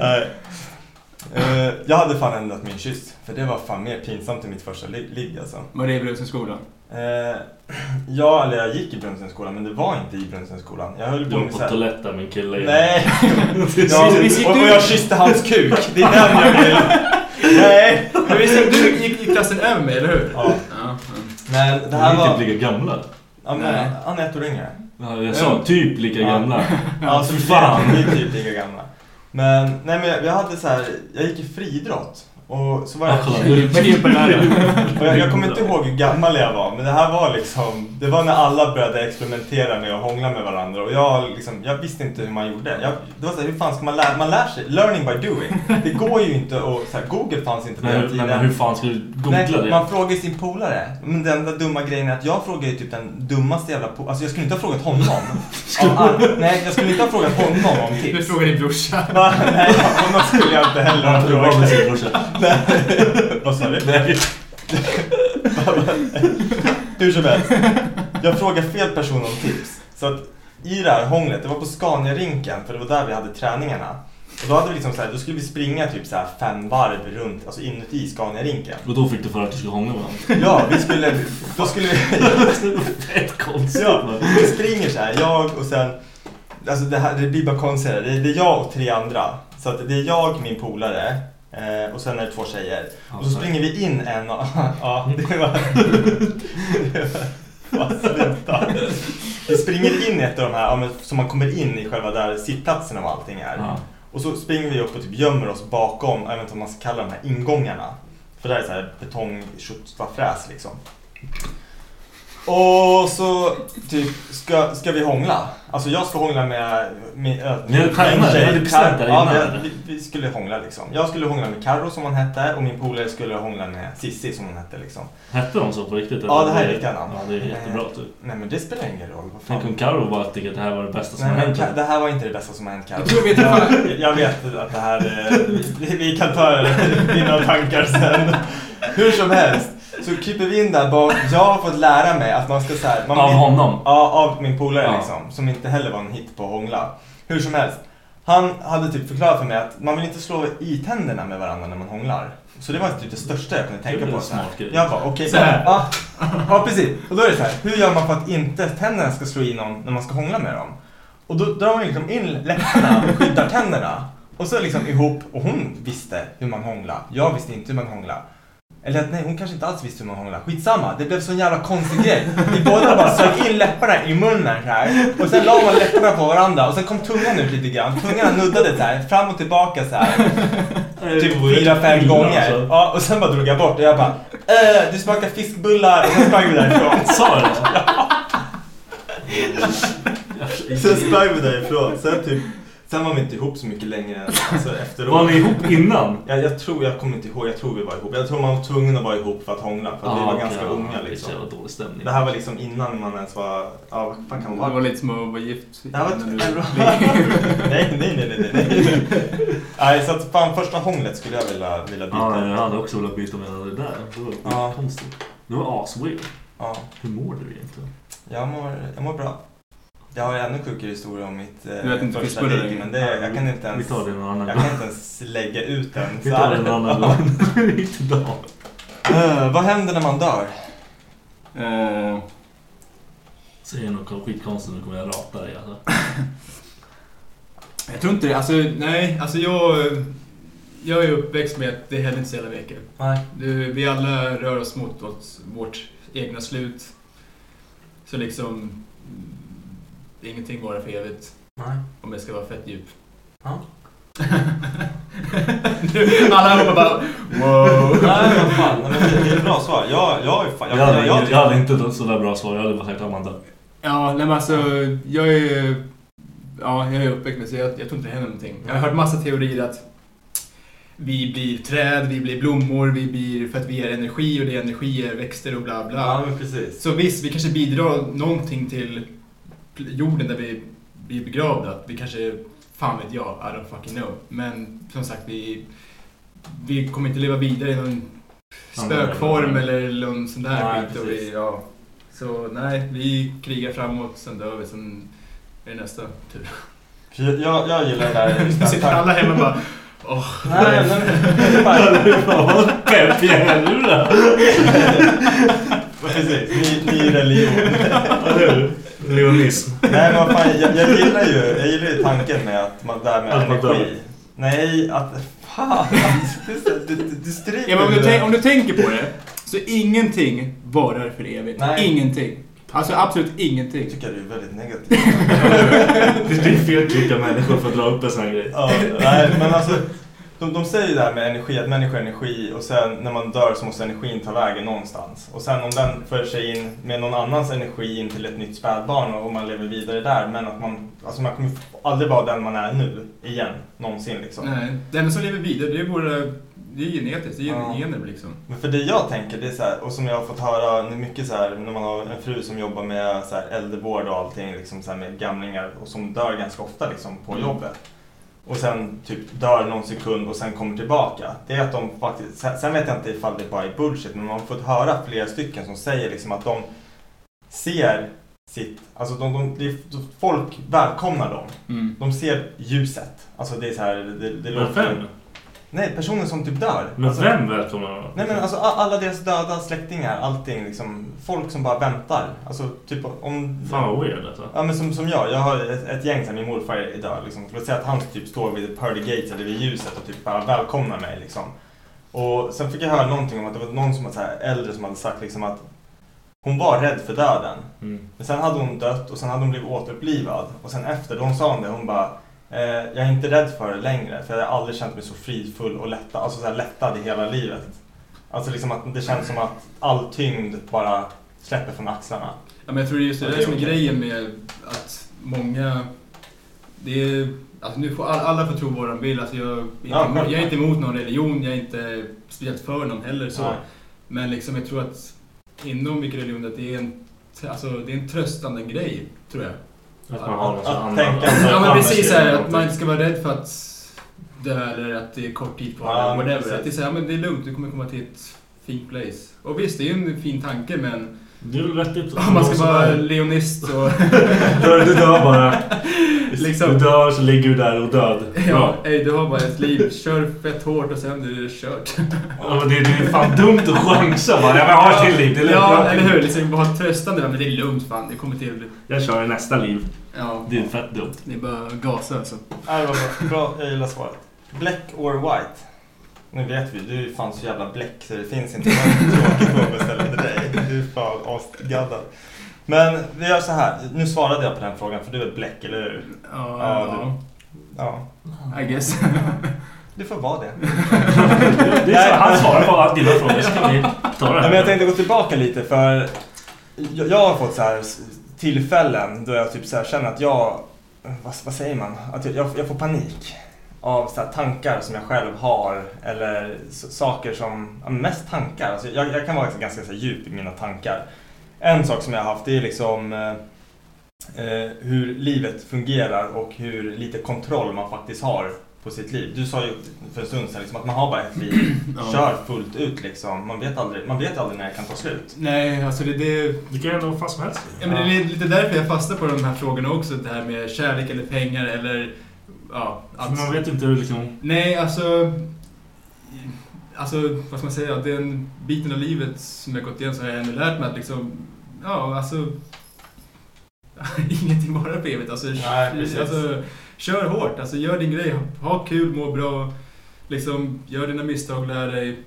Nej. Eh, jag hade fan ändrat min kyss. För det var fan mer pinsamt än mitt första li- ligg alltså.
Var det i Brunnsviksskolan?
Eh, ja, eller jag gick i Brunnsensskolan, men det var inte i Brunnsensskolan. Jag höll
Du
på
var
med
på
så här-
toaletten med en kille.
Nej!
Ja,
Ja, typ. och, och jag kysste hans kuk. Det är den jag vill. Nej!
Men visst, du gick i klassen över mig, eller hur?
Ja.
ja.
Men det
Ni
här
är
var...
typ lika gamla.
Ja,
Nej.
men, han är ett år yngre.
Ja, jag sa typ lika
Ja.
gamla.
Ja, så
Fy fan.
Vi är typ lika gamla. Men, nej men jag, jag hade så här, jag gick i friidrott. Och så var jag...
Ja, kolla, du- typ-
Vad är det på den här?
Och jag, jag kommer inte ihåg hur gammal jag var, men det här var liksom... Det var när alla började experimentera med att hångla med varandra och jag, liksom, jag visste inte hur man gjorde. Jag, det var så här, hur fan ska man lära Man lär sig. Learning by doing. Det går ju inte att... Så här, Google fanns inte på
Men,
den
men,
tiden.
men hur fan ska du googla
Nej,
det?
man frågar ju sin polare. Men den där dumma grejen är att jag frågar ju typ den dummaste jävla po- Alltså jag skulle inte ha frågat honom. Av all- nej, jag skulle inte ha frågat honom om
Du
tips.
frågar din brorsa.
Va? Nej, honom skulle jag inte heller ha
Du var med
frågat.
sin brorsa.
Nej. Vad sa du?
Nej.
Hur som helst. Jag frågar fel person om tips. Så att i det här hånglet, det var på Scania-rinken för det var där vi hade träningarna. Och då hade vi liksom så här, då skulle vi springa typ så här fem varv runt, alltså inuti Scania-rinken.
Och då fick du för att du skulle hångla med honom.
Ja, vi skulle, då skulle vi,
Fett konstigt.
Ja,
va?
vi springer så här. Jag och sen... Alltså det, här, det blir bara konstigare. Det, är- det är jag och tre andra. Så att det är jag, min polare eh, och sen är det två tjejer. Och så springer vi in en och... Ja, det var... det var- Fan, Sluta. Vi springer in i ett av de här, ja, men, så man kommer in i själva där sittplatsen och allting är.
Ja.
Och så springer vi upp och typ gömmer oss bakom, jag vet inte om man ska kalla de här ingångarna. För det här är så här betong fräs liksom. Och så typ, ska, ska vi hångla? Alltså jag ska hångla med... med
Ni hade tajmat det, ni hade bestämt det
Ja,
innan,
men
eller?
vi, vi skulle hångla liksom. Jag skulle hångla med Karo som hon hette och min polare skulle hångla med Sissi som hon hette liksom.
Hette de så på riktigt?
Ja,
eller?
det här är riktiga namn. Eh,
Ja, det är jättebra. Typ.
Nej men det spelar ingen roll. Vad
Tänk om
fan.
Carro bara tycker att det här var det bästa som
Nej,
har
men
hänt.
Ka- det här var inte det bästa som har hänt Karo.
Jag vet inte
jag, jag vet att det här... eh, Vi, vi kan ta dina tankar sen. Hur som helst. Så kryper vi in där bak. Jag har fått lära mig att man ska så här, man
Av
vill-
honom?
Ja, av min polare
Ja.
liksom. Som inte heller var en hit på att hångla. Hur som helst. Han hade typ förklarat för mig att man vill inte slå i tänderna med varandra när man hånglar. Så det var typ det största jag kunde
Det är
tänka
väl
på.
en
Så här.
smart grej.
Jag bara, okej.
Så här.
Ja, ja, precis. Och då är det så här, hur gör man för att inte tänderna ska slå i någon när man ska hångla med dem? Och då drar man liksom in läpparna och skyddar tänderna. Och så liksom ihop, och hon visste hur man hångla. Jag visste inte hur man hångla. Eller att nej, hon kanske inte alls visste hur man hångla. Skitsamma, det blev sån jävla konstig grej. Vi båda bara sög in läpparna i munnen så här. Och sen la man läpparna på varandra och sen kom tungan ut lite grann. Tungan nuddade så här, fram och tillbaka så här. Typ fyra, fem
alltså.
gånger. Ja, och sen bara drog jag bort och jag bara äh, du smakar fiskbullar och sen sprang vi därifrån.
Sa du det?
Sen sprang vi därifrån. Sen, typ, sen var vi inte ihop så mycket längre alltså, efteråt.
Var ni ihop innan?
Jag, jag tror, jag kommer inte ihåg, jag tror vi var ihop. Jag tror man var tvungen att vara ihop för att hångla. För att vi var
Ah, okej,
ganska
ja,
unga
Det är så
liksom.
jävla dålig stämning.
Det här var liksom innan man ens var, ja vad fan kan man
Det
vara?
var lite som att vara gift.
Det här var
innan
ett
du-
euro. nej, nej, nej, nej, nej, nej. Nej, så att fan första hånglet skulle jag vilja, vilja byta.
Ja, jag hade också velat byta med det där. Det var
Ja.
konstigt. Det var asweird.
Ja,
Hur mår du egentligen?
jag mår, jag mår bra. Jag har ju ännu sjukare historia om mitt eh,
Du vet inte
första
fiskbullar
ligg,
längre.
men det, jag kan inte
Vi
ens,
tar det någon annan
jag
gång.
kan inte ens lägga ut den.
Vi
så
tar
här.
det någon annan gång. Inte idag.
Eh, vad händer när man dör?
Eh,
Säger något skitkonstigt nu kommer jag rata dig alltså.
Jag tror inte det. Alltså, nej. Alltså jag... Jag är uppväxt med att det händer inte så jävla mycket.
Nej.
Du, vi alla rör oss mot oss, vårt egna slut. Så liksom... mm, Ingenting varar för evigt.
Nej.
Om jag ska vara fett djup.
Ja.
Nu, alla hoppar bara... Wow.
Nej, vad fan. Nej, men det, det är ett bra svar. Jag, jag, är fan,
Jag
jag,
hade,
jag,
jag,
jag,
hade inte ett sådär bra svar. Jag hade bara sagt Amanda.
Ja, nej men alltså jag är ju- Ja, jag är uppväxt med så jag, jag tror inte det händer någonting. Jag har hört massa teorier att
vi blir träd, vi blir blommor, vi blir för att vi är energi och det är energi är växter och bla bla.
Ja, men precis.
Så visst, vi kanske bidrar någonting till pl- jorden där vi blir begravda. Vi kanske, fan vet jag, I don't fucking know. Men som sagt, vi, vi kommer inte leva vidare i någon spökform eller någon sån där
Nej,
skit. Och
precis.
vi, ja. Så nej, vi krigar framåt, sen dör vi, sen är det nästa tur.
Jag, jag, jag gillar det där.
Nu sitter alla hemma och bara Åh,
Nej, nej, nej. Det är bara-
Fan, vad pepp jag är nu då.
Precis, ny, ny religion.
Leonism.
Nej, men vad fan, jag, jag gillar ju jag gillar ju tanken med att man där med
Att man dör.
energi. Nej, att... Fan! Du, du, du, du stryper
Ja, men om,
det
du
där.
tänk, om du tänker på det, så ingenting varar för evigt.
Nej.
Ingenting. Alltså absolut ingenting.
Jag tycker du är väldigt negativ.
Det blir fel klick av människor för att dra upp en sån här grej.
Ja, nej, men alltså, de, de säger ju det här med energi, att människa är energi och sen när man dör så måste energin ta vägen någonstans. Och sen om den för sig in med någon annans energi in till ett nytt spädbarn och och man lever vidare där. Men att man, alltså man kommer aldrig vara den man är nu igen, någonsin liksom.
Nej, det enda som lever vidare det är våra... Det är genetiskt, det är
Ja.
gener liksom.
Men för det jag tänker, det är så här, och som jag har fått höra nu mycket så här, när man har en fru som jobbar med så här, äldrevård och allting, liksom så här, med gamlingar och som dör ganska ofta liksom, på
Mm.
jobbet. Och sen typ dör någon sekund och sen kommer tillbaka. Det är att de faktiskt, sen, sen vet jag inte ifall det bara är bullshit, men man har fått höra flera stycken som säger liksom att de ser sitt, alltså de, de, det är, folk välkomnar dem.
Mm.
De ser ljuset. Alltså det är så här, det, det
Men vem?
Nej, personen som typ dör.
Men
Alltså-
vem välkomnar honom?
Nej men alltså a- alla deras döda släktingar, allting liksom. Folk som bara väntar. Alltså typ om...
Fan vad weird alltså.
Ja men som, som jag, jag har ett, ett gäng som min morfar är död liksom. Låt säga att han typ står vid Pearly Gates eller vid ljuset och typ bara välkomnar mig liksom. Och sen fick jag höra någonting om att det var någon som var så här äldre som hade sagt liksom att hon var rädd för döden.
Mm.
Men sen hade hon dött och sen hade hon blivit återupplivad. Och sen efter, då hon sa om det, hon bara eh, Jag är inte rädd för det längre för jag har aldrig känt mig så fridfull och lättad, alltså så här lättad i hela livet. Alltså liksom att det känns som att all tyngd bara släpper från axlarna.
Ja, men jag tror det är just det
Ja, det
där
är
som är
okej.
grejen med att många... Det är, alltså nu får alla, alla får tro vad de vill. Alltså jag, är inte,
Ja,
emot- jag är inte emot någon religion, jag är inte speciellt för någon heller. Så.
Nej.
Men liksom, jag tror att inom vilken religion att det är en, alltså, det är en tröstande grej, tror jag.
Att man har någon sån
att
annan-
tänka-
Ja men
Annars
precis
är det
såhär, att
någonting.
man inte ska vara rädd för att dö eller att det är kort tid kvar
Ja,
eller
precis.
whatever. Att det är såhär, men det är lugnt, du kommer komma till ett fint place. Och visst, det är ju en fin tanke men
Det är väl rätt ut.
om man ska
Någon
vara
som är-
leonist och...
Dör- Du dör bara.
Liksom.
Du dör så ligger du där och död.
Ja,
Bra.
ey, du har bara ett liv. Kör fett hårt och sen är det kört.
Ja, men det, det är fan dumt att chansa bara. Ja, men jag har ett till liv. Det är lugnt.
Ja,
Jag har ett
eller
till
hur?
liv.
Liksom, bara tröstande. Men det är lugnt fan, det kommer till.
Jag kör i nästa liv.
Ja,
Det är fett dumt.
det är bara att gasa alltså.
Nej, det var bra. bra, jag gillar svaret. Black or white? Nu vet vi, du är ju fan så jävla bläck så det finns inte någon tråkig fråga att ställa till dig. Du är fan asgaddad. Men vi gör så här, nu svarade jag på den frågan för du är bläck, eller hur?
Ja,
du, ja.
I guess.
Du får vara det.
Det är så, han svarar på alla dina frågor. Ska vi ta det
Ja, men jag
här?
tänkte gå tillbaka lite för jag, jag har fått så här s- tillfällen då jag typ så här känner att jag, vad, vad säger man, att jag, jag, jag får panik av så här tankar som jag själv har eller s- saker som, ja, mest tankar. Alltså jag, jag kan vara ganska så här, djup i mina tankar. En sak som jag har haft det är liksom eh, eh, hur livet fungerar och hur lite kontroll man faktiskt har på sitt liv. Du sa ju för en stund sedan liksom, att man har bara ett liv.
Ja.
Kör fullt ut liksom. Man vet aldrig, man vet aldrig när det kan ta slut.
Nej, alltså det, det,
Du kan göra vad fan som helst.
Ja, men det är lite därför jag fastnar på de här frågorna också. Det här med kärlek eller pengar eller... Ja,
För Man vet inte hur liksom...
Nej, alltså... Alltså, vad ska man säga? Den biten av livet som jag gått igenom så har jag ändå lärt mig att liksom... Ja, alltså... Ingenting bara för evigt. Alltså,
Nej, precis.
alltså, kör hårt. Alltså, gör din grej. Ha kul, må bra. Liksom, gör dina misstag, lär dig.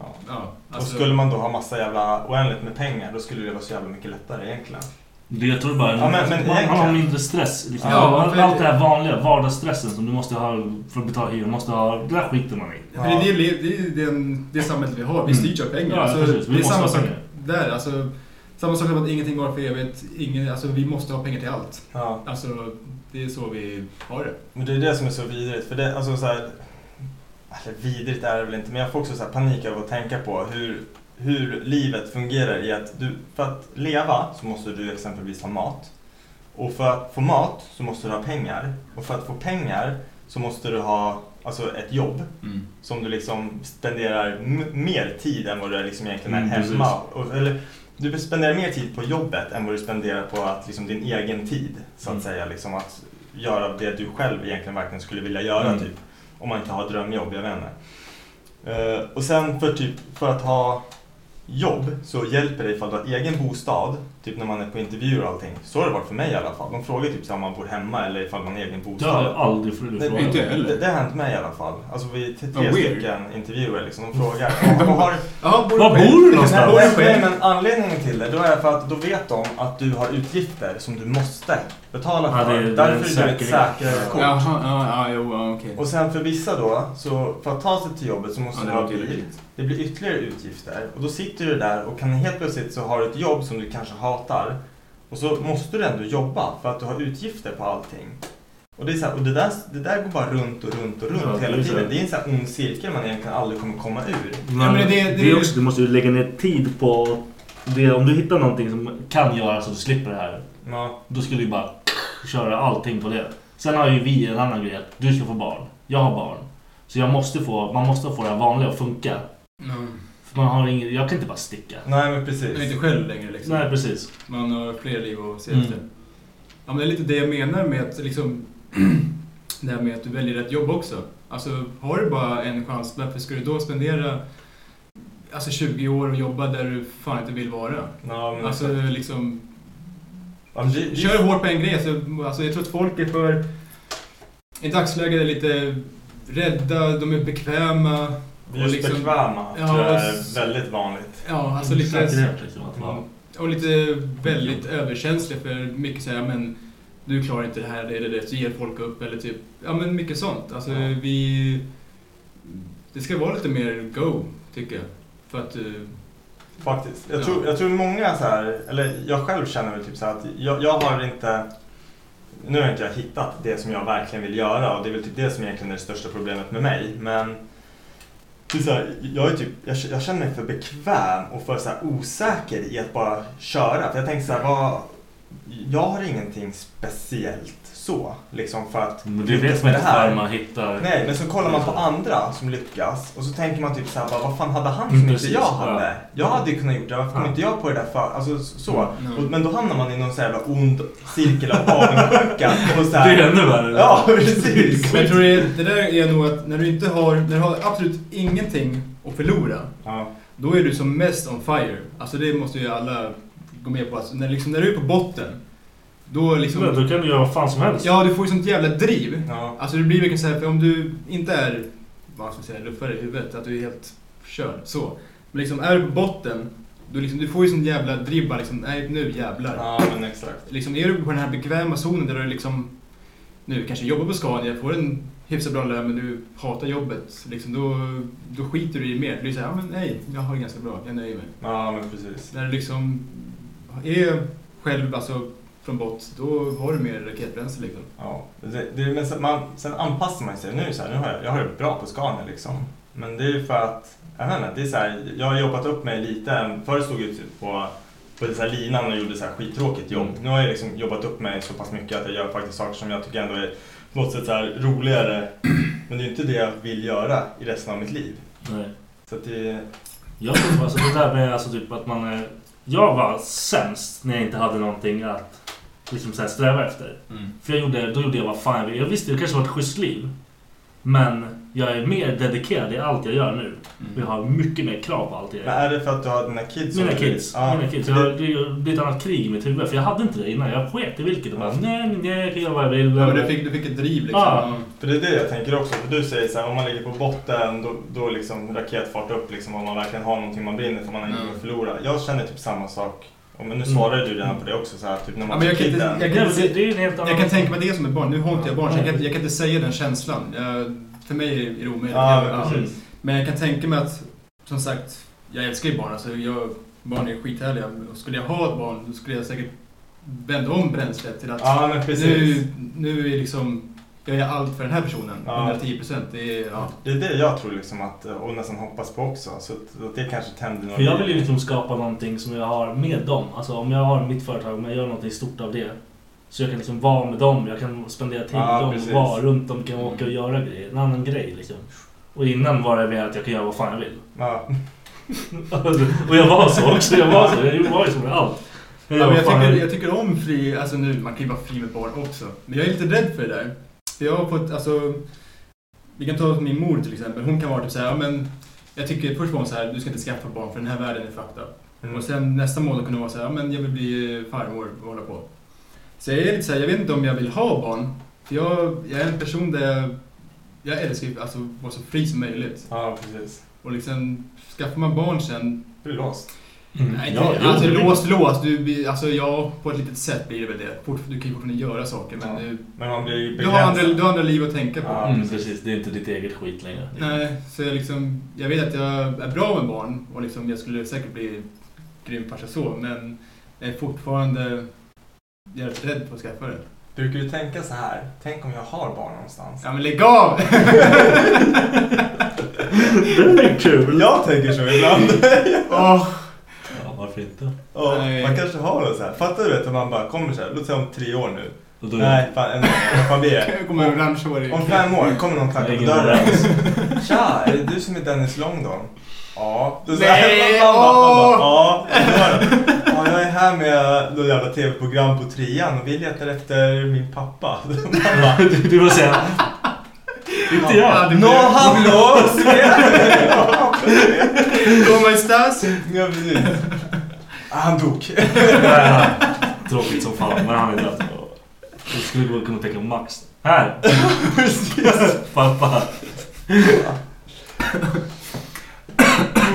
Ja.
Ja, alltså-
och skulle man då ha massa jävla oändligt med pengar då skulle det vara så jävla mycket lättare egentligen.
Det jag tror bara...
Ja, men-
man,
men
man har
egentligen-
mindre stress. Liksom.
Ja,
allt,
för-
allt det här vanliga, vardagsstressen som du måste ha för att betala hyran. måste ha... Det där skiter man i.
Ja. men Det, är det, det är ju den, det samhället vi har. Vi
Mm.
styrs av pengar.
Ja,
alltså,
precis. Vi
det är
måste
samma
ha
sak
pengar.
där. Alltså, samma sak som att ingenting var för evigt. Ingen, alltså, vi måste ha pengar till allt.
Ja.
Alltså, det är så vi har det.
Men det är det som är så vidrigt. För det, alltså så här, eller vidrigt är det väl inte, men jag får också så här panik över att tänka på hur, hur livet fungerar i att du, för att leva så måste du exempelvis ha mat. Och för att få mat så måste du ha pengar. Och för att få pengar så måste du ha alltså ett jobb
Mm.
som du liksom spenderar m- mer tid än vad du liksom egentligen är
Mm, precis.
hemma. Och, eller, du spenderar mer tid på jobbet än vad du spenderar på att, liksom, din egen tid. Så
Mm.
att säga liksom, att göra det du själv egentligen verkligen skulle vilja göra.
Mm.
Typ, om man inte har drömjobb, jag vet inte. Eh, och sen för, typ, för att ha jobb så hjälper det ifall du har egen bostad. Typ när man är på intervjuer och allting. Så har det varit för mig i alla fall. De frågar typ så här om man bor hemma eller ifall man har egen bostad.
Det har jag aldrig frågat.
Nej,
Inte jag heller.
det, det har hänt mig i alla fall. Alltså vi t- tre
Vad weird.
stycken intervjuer liksom. De frågar. "Ja, vad har,
Ja, bor du Var själv? bor du någonstans?
Nej,
Bor du
nej,
själv?
men anledningen till det då är för att då vet de att du har utgifter som du måste betala
Ja,
för.
det är- det är
Därför är du ett
säkerhet.
säkrare kort.
Jaha, ja, ja, jo, ja, okej.
Och sen för vissa då, så för att ta sig till jobbet så måste
Ja, det
du ha
låter ju
bil.
legit.
Det blir ytterligare utgifter. Och då sitter du där och kan helt plötsligt så har du ett jobb som du kanske hatar. Och så måste du ändå jobba för att du har utgifter på allting. Och det, är så här, och det, där, det där går bara runt och runt och runt
Ja, det
hela
är så.
tiden. Det är en sån här ond cirkel man egentligen aldrig kommer komma ur.
Men det, är också, du måste ju lägga ner tid på... Det, om du hittar någonting som kan göras så du slipper det här.
Ja.
Då skulle du bara köra allting på det. Sen har ju vi en annan grej att du ska få barn. Jag har barn. Så jag måste få, man måste få det här vanliga att funka.
Mm.
För man har ingen, jag kan inte bara sticka.
Nej, men precis.
Man är inte själv längre liksom.
Nej, precis.
Man har fler liv att se
Mm.
efter. Ja, men det är lite det jag menar med att liksom, det här med att du väljer rätt jobb också. Alltså, har du bara en chans, varför ska du då spendera alltså, 20 år och jobba där du fan inte vill vara?
Ja, men-
alltså, liksom,
Ja, men det-
Kör hårt på en grej. Alltså, alltså, jag tror att folk är för... I dagsläget är lite rädda, de är bekväma.
Just
liksom-
bekväma tror jag är väldigt vanligt.
Ja, alltså lite...
Säkerhet, liksom, att vara-
Och lite väldigt överkänsliga för mycket såhär, men du klarar inte det här, det är det, det. Så ger folk upp eller typ, ja men mycket sånt. Alltså vi... Det ska vara lite mer go, tycker jag. För att... eh,
Faktiskt. Jag
ja.
tror, jag tror många så här, eller jag själv känner väl typ så här att jag, jag har inte, nu har inte jag hittat det som jag verkligen vill göra och det är väl typ det som egentligen är det största problemet med mig. Men det är så här, jag, är typ, jag, jag känner mig för bekväm och för så här osäker i att bara köra. För jag tänker så här, vad, jag har ingenting speciellt så. Liksom för att
Men det
lyckas
vet man
med
inte förrän man hittar-
Nej, men så kollar man på andra som lyckas och så tänker man typ så här, bara, vad fan hade han
Mm,
som inte
precis.
jag
Ja.
hade? Jag hade ju kunnat gjort det, varför kom
Ja.
inte jag på det där för? Alltså så.
Mm.
Och, men då hamnar man i någon så här jävla ond cirkel av avundsjuka. och så här-
Det är ännu värre.
Ja, precis.
Men jag tror det, det där är nog att när du inte har, när du har absolut ingenting att förlora, då är du som mest on fire. Alltså det måste ju alla gå med på. Alltså, när, liksom, när du är på botten, då liksom...
Men då kan du göra vad fan som helst.
Ja, du får ju sånt jävla driv.
Ja.
Alltså det blir verkligen så här, för om du inte är, vad ska man säga, luffare i huvudet, att du är helt körd så. Men liksom är du på botten, då liksom, du får ju sånt jävla driv bara liksom, nej nu jävlar.
Ja, men exakt.
Liksom är du på den här bekväma zonen där du liksom, nu kanske jobbar på Scania, får en hyfsat bra lön men du hatar jobbet. Liksom, då, då skiter du i mer. Du är såhär, ja men nej, jag har det ganska bra, jag nöjer mig.
Ja, men precis.
När du liksom är själv alltså från bott, då har du mer raketbränsle liksom.
Ja, det, det, men sen, man, sen anpassar man sig. Nu, är det så här, nu har jag, jag har det bra på Scania liksom. Men det är ju för att, jag vet inte, det är så här, jag har jobbat upp mig lite. Förr stod jag typ på, på så här linan och gjorde så här skittråkigt jobb. Nu har jag liksom jobbat upp mig så pass mycket att jag gör faktiskt saker som jag tycker ändå är på något sätt så här roligare. Men det är ju inte det jag vill göra i resten av mitt liv.
Nej.
Så att det,
Jag tror alltså det där med alltså typ att man är... Jag var sämst när jag inte hade någonting att liksom så här sträva efter.
Mm.
För jag gjorde, då gjorde jag vad fan jag ville. Jag visste det kanske var ett schysst liv. Men jag är mer dedikerad i allt jag gör nu.
Mm.
Och jag har mycket mer krav på allt jag
men
gör.
är det för att du har dina kids?
Mina
som du-
kids.
Ja,
mina kids.
det-
Jag, har- det är- det är ett annat krig i mitt huvud. För jag hade inte det innan. Jag sket i vilket och bara
Mm.
nej, nej, jag kan göra vad jag vill.
Ja, men du fick, du fick ett driv liksom.
Ja.
För det är det jag tänker också. För du säger så här, om man ligger på botten då, då liksom raketfart upp liksom om man verkligen har någonting man brinner för man har ingenting att förlora. Jag känner typ samma sak. Och men nu svarade du redan på det också så här, typ när
Ja,
man
men jag,
var
kan inte,
kidden.
jag, kan inte, se- jag kan tänka mig det som ett barn. Nu har inte jag barn så jag kan, jag kan inte säga den känslan. Jag, för mig är det omöjligt.
Ja,
Jag-
men precis.
Men jag kan tänka mig att, som sagt, jag älskar ju barn. Alltså jag, barn är skithärliga. Och skulle jag ha ett barn då skulle jag säkert vända om bränslet till att
Ja, men precis.
nu, nu är liksom
jag gör allt för den här personen.
Ja.
110 procent. Det är, ja.
Det är det jag tror liksom att, och nästan hoppas på också. Så att, att det kanske tänder någon...
För jag vill ju liksom skapa någonting som jag har med dem. Alltså om jag har mitt företag, om jag gör någonting stort av det. Så jag kan liksom vara med dem, jag kan spendera tid med
Ja,
dem,
precis. Mm.
vara runt dem, kan åka och göra grejer. En annan grej liksom. Och innan var det mer att jag kan göra vad fan jag vill.
Ja.
och jag var så också, jag var så. Jag var ju så med allt.
Ja, men jag, tycker, jag tycker om fri, alltså nu, man kan ju vara fri med barn också. Men jag är lite rädd för det där. För jag har fått, alltså, vi kan ta min mor till exempel. Hon kan vara typ så här, ja, men jag tycker först var hon så här, du ska inte skaffa barn för den här världen är fucked up.
Mm.
Och sen nästa månad kunde hon vara så här, ja, men jag vill bli eh, farmor och hålla på. Så jag är lite så här, jag vet inte om jag vill ha barn. För jag, jag är en person där jag, jag älskar ju alltså, att vara så fri som möjligt.
Ja, precis.
Och liksom, skaffar man barn sen...
Blir du låst?
Mm. Nej,
Ja,
ja,
jo,
alltså
det blir-
låst, låst. Du, blir- alltså ja, på ett litet sätt blir det väl det. Fort, du kan ju fortfarande göra saker men, du,
Men man blir ju
du, har andra,
begränsad.
du har andra liv att tänka på.
Ja,
Mm, precis, det är inte ditt eget skit längre.
Nej, så jag, liksom, jag vet att jag är bra med barn och liksom, jag skulle säkert bli grym farsa så men jag är fortfarande jag är rädd på att skaffa det.
Du brukar ju tänka så här. Tänk om jag har barn någonstans.
Ja men lägg av!
Det är kul!
Jag tänker så ibland.
Åh,
Ja, varför inte?
Ja,
Nej.
man kanske har det så här. Fattar du vet om man bara kommer så här. Låt säga om tre år nu.
Och då-
Nej, fan en Vad fan blir det?
jag Mm. kommer med orange
Om fem år kommer någon tacka på
Ingen
dörren.
överens.
Tja, är det du som är Dennis Långdon? Ja. Då så-
Nej,
man bara- man bara,
åh!
Ja, det var det. Ja, jag är här med något jävla tv-program på trean och vi letar efter min pappa. Man bara,
Du, du var såhär... Inte jag!
No, hallå!
Kommer estas?
Ja, precis. Ah, Han dog.
Nej, han- Tråkigt som fan, men han är död. Du skulle gå och kunna tänka Max. Här! Pappa.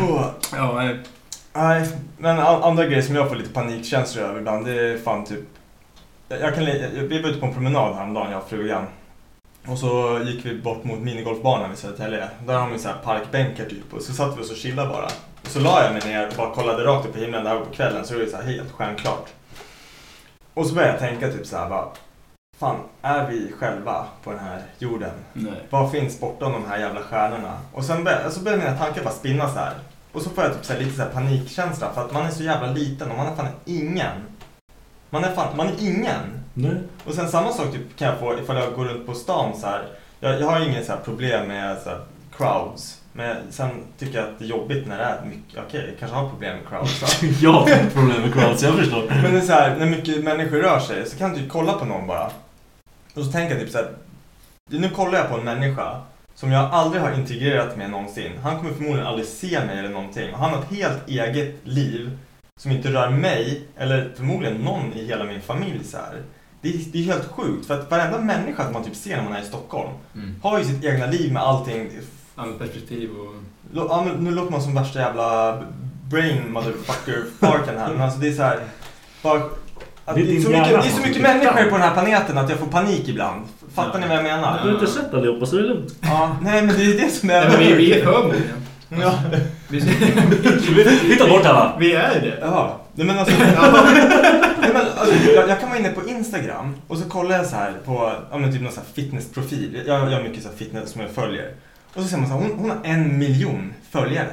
Åh.
Ja, nej.
Nej, men an- andra grejer som jag får lite panikkänslor över ibland, det är fan typ... Jag jag kan, li- jag- vi var ute på en promenad häromdagen, jag och frugan. Och så gick vi bort mot minigolfbanan vid Södertälje. Där har vi så här parkbänkar typ. Och så satt vi oss och chillade bara. Och så la jag mig ner och bara kollade rakt upp i himlen. Det här var på kvällen, så det var ju så här helt stjärnklart. Och så började jag tänka typ så här bara... Fan, är vi själva på den här jorden?
Nej.
Vad finns bortom de här jävla stjärnorna? Och sen börjar, så börjar mina tankar bara spinna så här. Och så får jag typ så här lite så här panikkänsla för att man är så jävla liten och man är fan ingen. Man är fan, man är ingen.
Nej.
Och sen samma sak typ kan jag få ifall jag går runt på stan så här. Jag, jag har ju inget så här problem med så här crowds. Men sen tycker jag att det är jobbigt när det är mycket, okej jag kanske har problem med crowds. va?
Jag har ett problem med crowds, jag förstår.
Men det är så här, när mycket människor rör sig så kan du ju kolla på någon bara. Och så tänker jag typ så här. Nu kollar jag på en människa som jag aldrig har integrerat med någonsin. Han kommer förmodligen aldrig se mig eller någonting. Han har ett helt eget liv som inte rör mig eller förmodligen någon i hela min familj så här. Det är, det är helt sjukt för att varenda människa som man typ ser när man är i Stockholm
Mm.
har ju sitt egna liv med allting.
Annat perspektiv och...
Lå- Ja, men nu låter man som värsta jävla brain motherfucker farken här men alltså det är så här. Bara, att
Det är
det, är
din
så mycket,
hjärna
det är så
som
mycket
sitter
människor
fram.
på den här planeten att jag får panik ibland. Fattar
Ja.
ni vad jag menar?
Du har inte sett allihopa så det är lugnt.
Ja, nej men det är det som är...
Nej, men vi, vi är för många.
Ja,
Vi,
Vi tar bort alla.
vi är det.
ja. Nej, men alltså, nej, men alltså jag, jag kan vara inne på Instagram och så kollar jag så här på ja, men typ någon så här fitnessprofil. Jag, jag har mycket så här fitness som jag följer. Och så ser man så här, hon, hon har en miljon följare.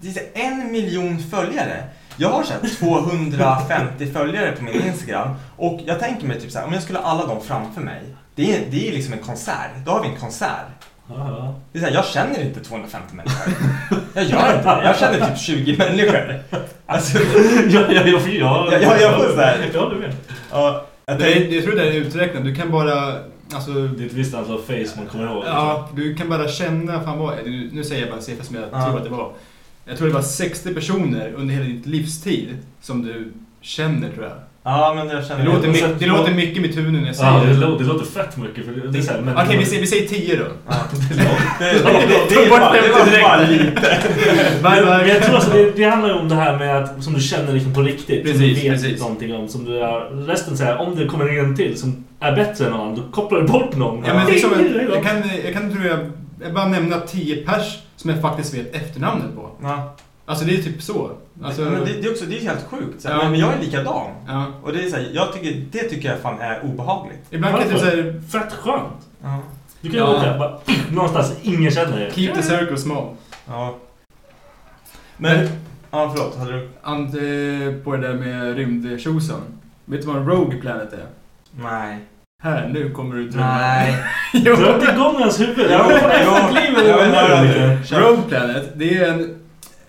Det är så här, en miljon följare. Jag har så här 250 följare på min Instagram och jag tänker mig typ så här, om jag skulle ha alla dem framför mig. Det är, det är liksom en konsert. Då har vi en konsert.
Ja,
Det är så här, jag känner inte 250 människor. Jag gör inte det. Jag känner typ 20 människor. Alltså,
ja, ja, ja, ja,
Ja, ja, jag får så här.
Ja, du vet.
ja, jag
Det
tänker,
är, jag tror det där är uträknat. Du kan bara... Alltså,
Det är ett visst antal face man kommer ihåg. liksom.
Ja, du kan bara känna, fan vad är det? Nu- Nu säger jag bara en siffra som jag
Ja.
tror att det var. Jag tror det var 60 personer under hela ditt livstid som du känner tror jag.
ja, men jag känner
Det låter,
men
mycket,
sen-
det låter mycket med tunen när jag säger
Ja, det,
det.
låter, det låter fett mycket. För det, det är så här, men,
Okej, vi, säger- vi säger 10 då.
Det, det, det, det, är bara- det var bara lite.
Varv,
Men jag
varv.
tror alltså det, det handlar ju om det här med att som du känner liksom på riktigt. som du
Precis,
vet
precis.
någonting om. Som du har, resten så här, om det kommer en till som är bättre än någon annan, då kopplar du bort någon.
Ja, men det är som en, jag,
kan...
kan, jag kan tror jag, jag bara nämna 10 pers som jag faktiskt vet efternamnet på.
Ja,
Alltså det är typ så. Alltså,
det, men det, det, är också, det är helt sjukt. Så här,
Ja.
men, men jag är likadan.
Ja.
Och det, är så här, jag tycker, det tycker jag fan är obehagligt.
Ibland kan jag typ såhär...
Fett skönt!
Ja.
Du kan ju gå där bara, någonstans ingen känner dig.
Keep the circle small.
Ja.
Men-
Men... Ja, förlåt. Hade du...
Ant, eh, på det där med rymdtjosan. Vet du vad en rogue planet är?
Nej.
Här, nu kommer du drömma.
Nej.
Jo.
Dra inte igång hans huvud!
Jo,
Jag
jo,
efterbliver
jag vill höra
det
det. Kör.
Rogue Planet, det är en,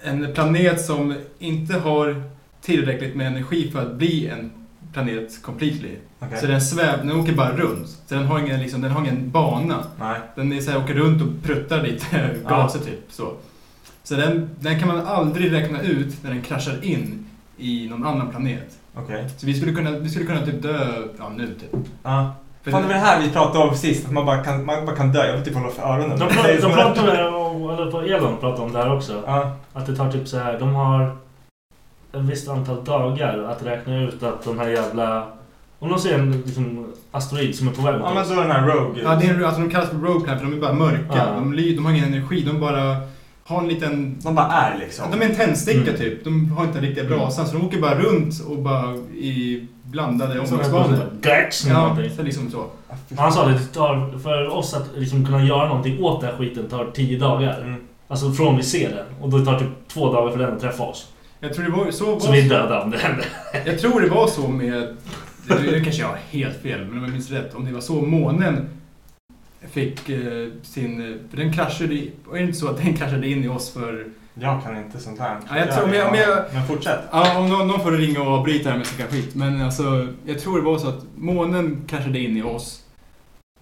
en planet som inte har tillräckligt med energi för att bli en planet completely.
Okej.
Så den svävar, den åker bara runt. Så den har ingen, liksom, den har ingen bana.
Nej.
Den är så här, åker runt och pruttar lite
Ja.
gaser typ. Så, så den, den kan man aldrig räkna ut när den kraschar in i någon annan planet.
Okej.
Så vi skulle kunna, vi skulle kunna typ dö, ja nu typ.
Ja.
För
Fan, det
den-
var det här vi pratade om sist. Att man bara kan, man bara kan dö. Jag vill typ hålla för öronen.
De pratar, de pratar om, eller på Elon pratar om det här också.
Ja.
Att det tar typ så här, de har ett visst antal dagar att räkna ut att de här jävla... Om de ser en liksom, asteroid som är på väg mot
ja, men
oss.
så den här Rogue.
Ja, det är, en- alltså de kallas för Rogue Planet för de är bara mörka.
Ja.
De, ly- de har ingen energi, de bara har en liten
De bara är liksom.
De är en tändsticka
Mm.
typ. De har inte en riktig brasan så de åker bara runt och bara i blandade omloppsbanor.
Gax!
Ja,
någonting.
så liksom så.
Han sa det, det tar, för oss att liksom kunna göra någonting åt den här skiten tar 10 dagar.
Mm.
Alltså från vi ser den. Och det tar typ två dagar för den att träffa oss.
Jag tror det var så. Var,
Så vi är döda om det händer.
Jag tror det var så med... Nu nu kanske jag har helt fel, men om jag minns rätt. Om det var så månen fick eh, sin... För den kraschade i... Var det inte så att den kraschade in i oss för...
Jag kan inte sånt här. liksom-
Ja, jag tror- men jag- men jag-
men fortsätt.
Ja, om någon, någon får ringa och avbryta det här med snacka skit. Men alltså, jag tror det var så att månen kraschade in i oss.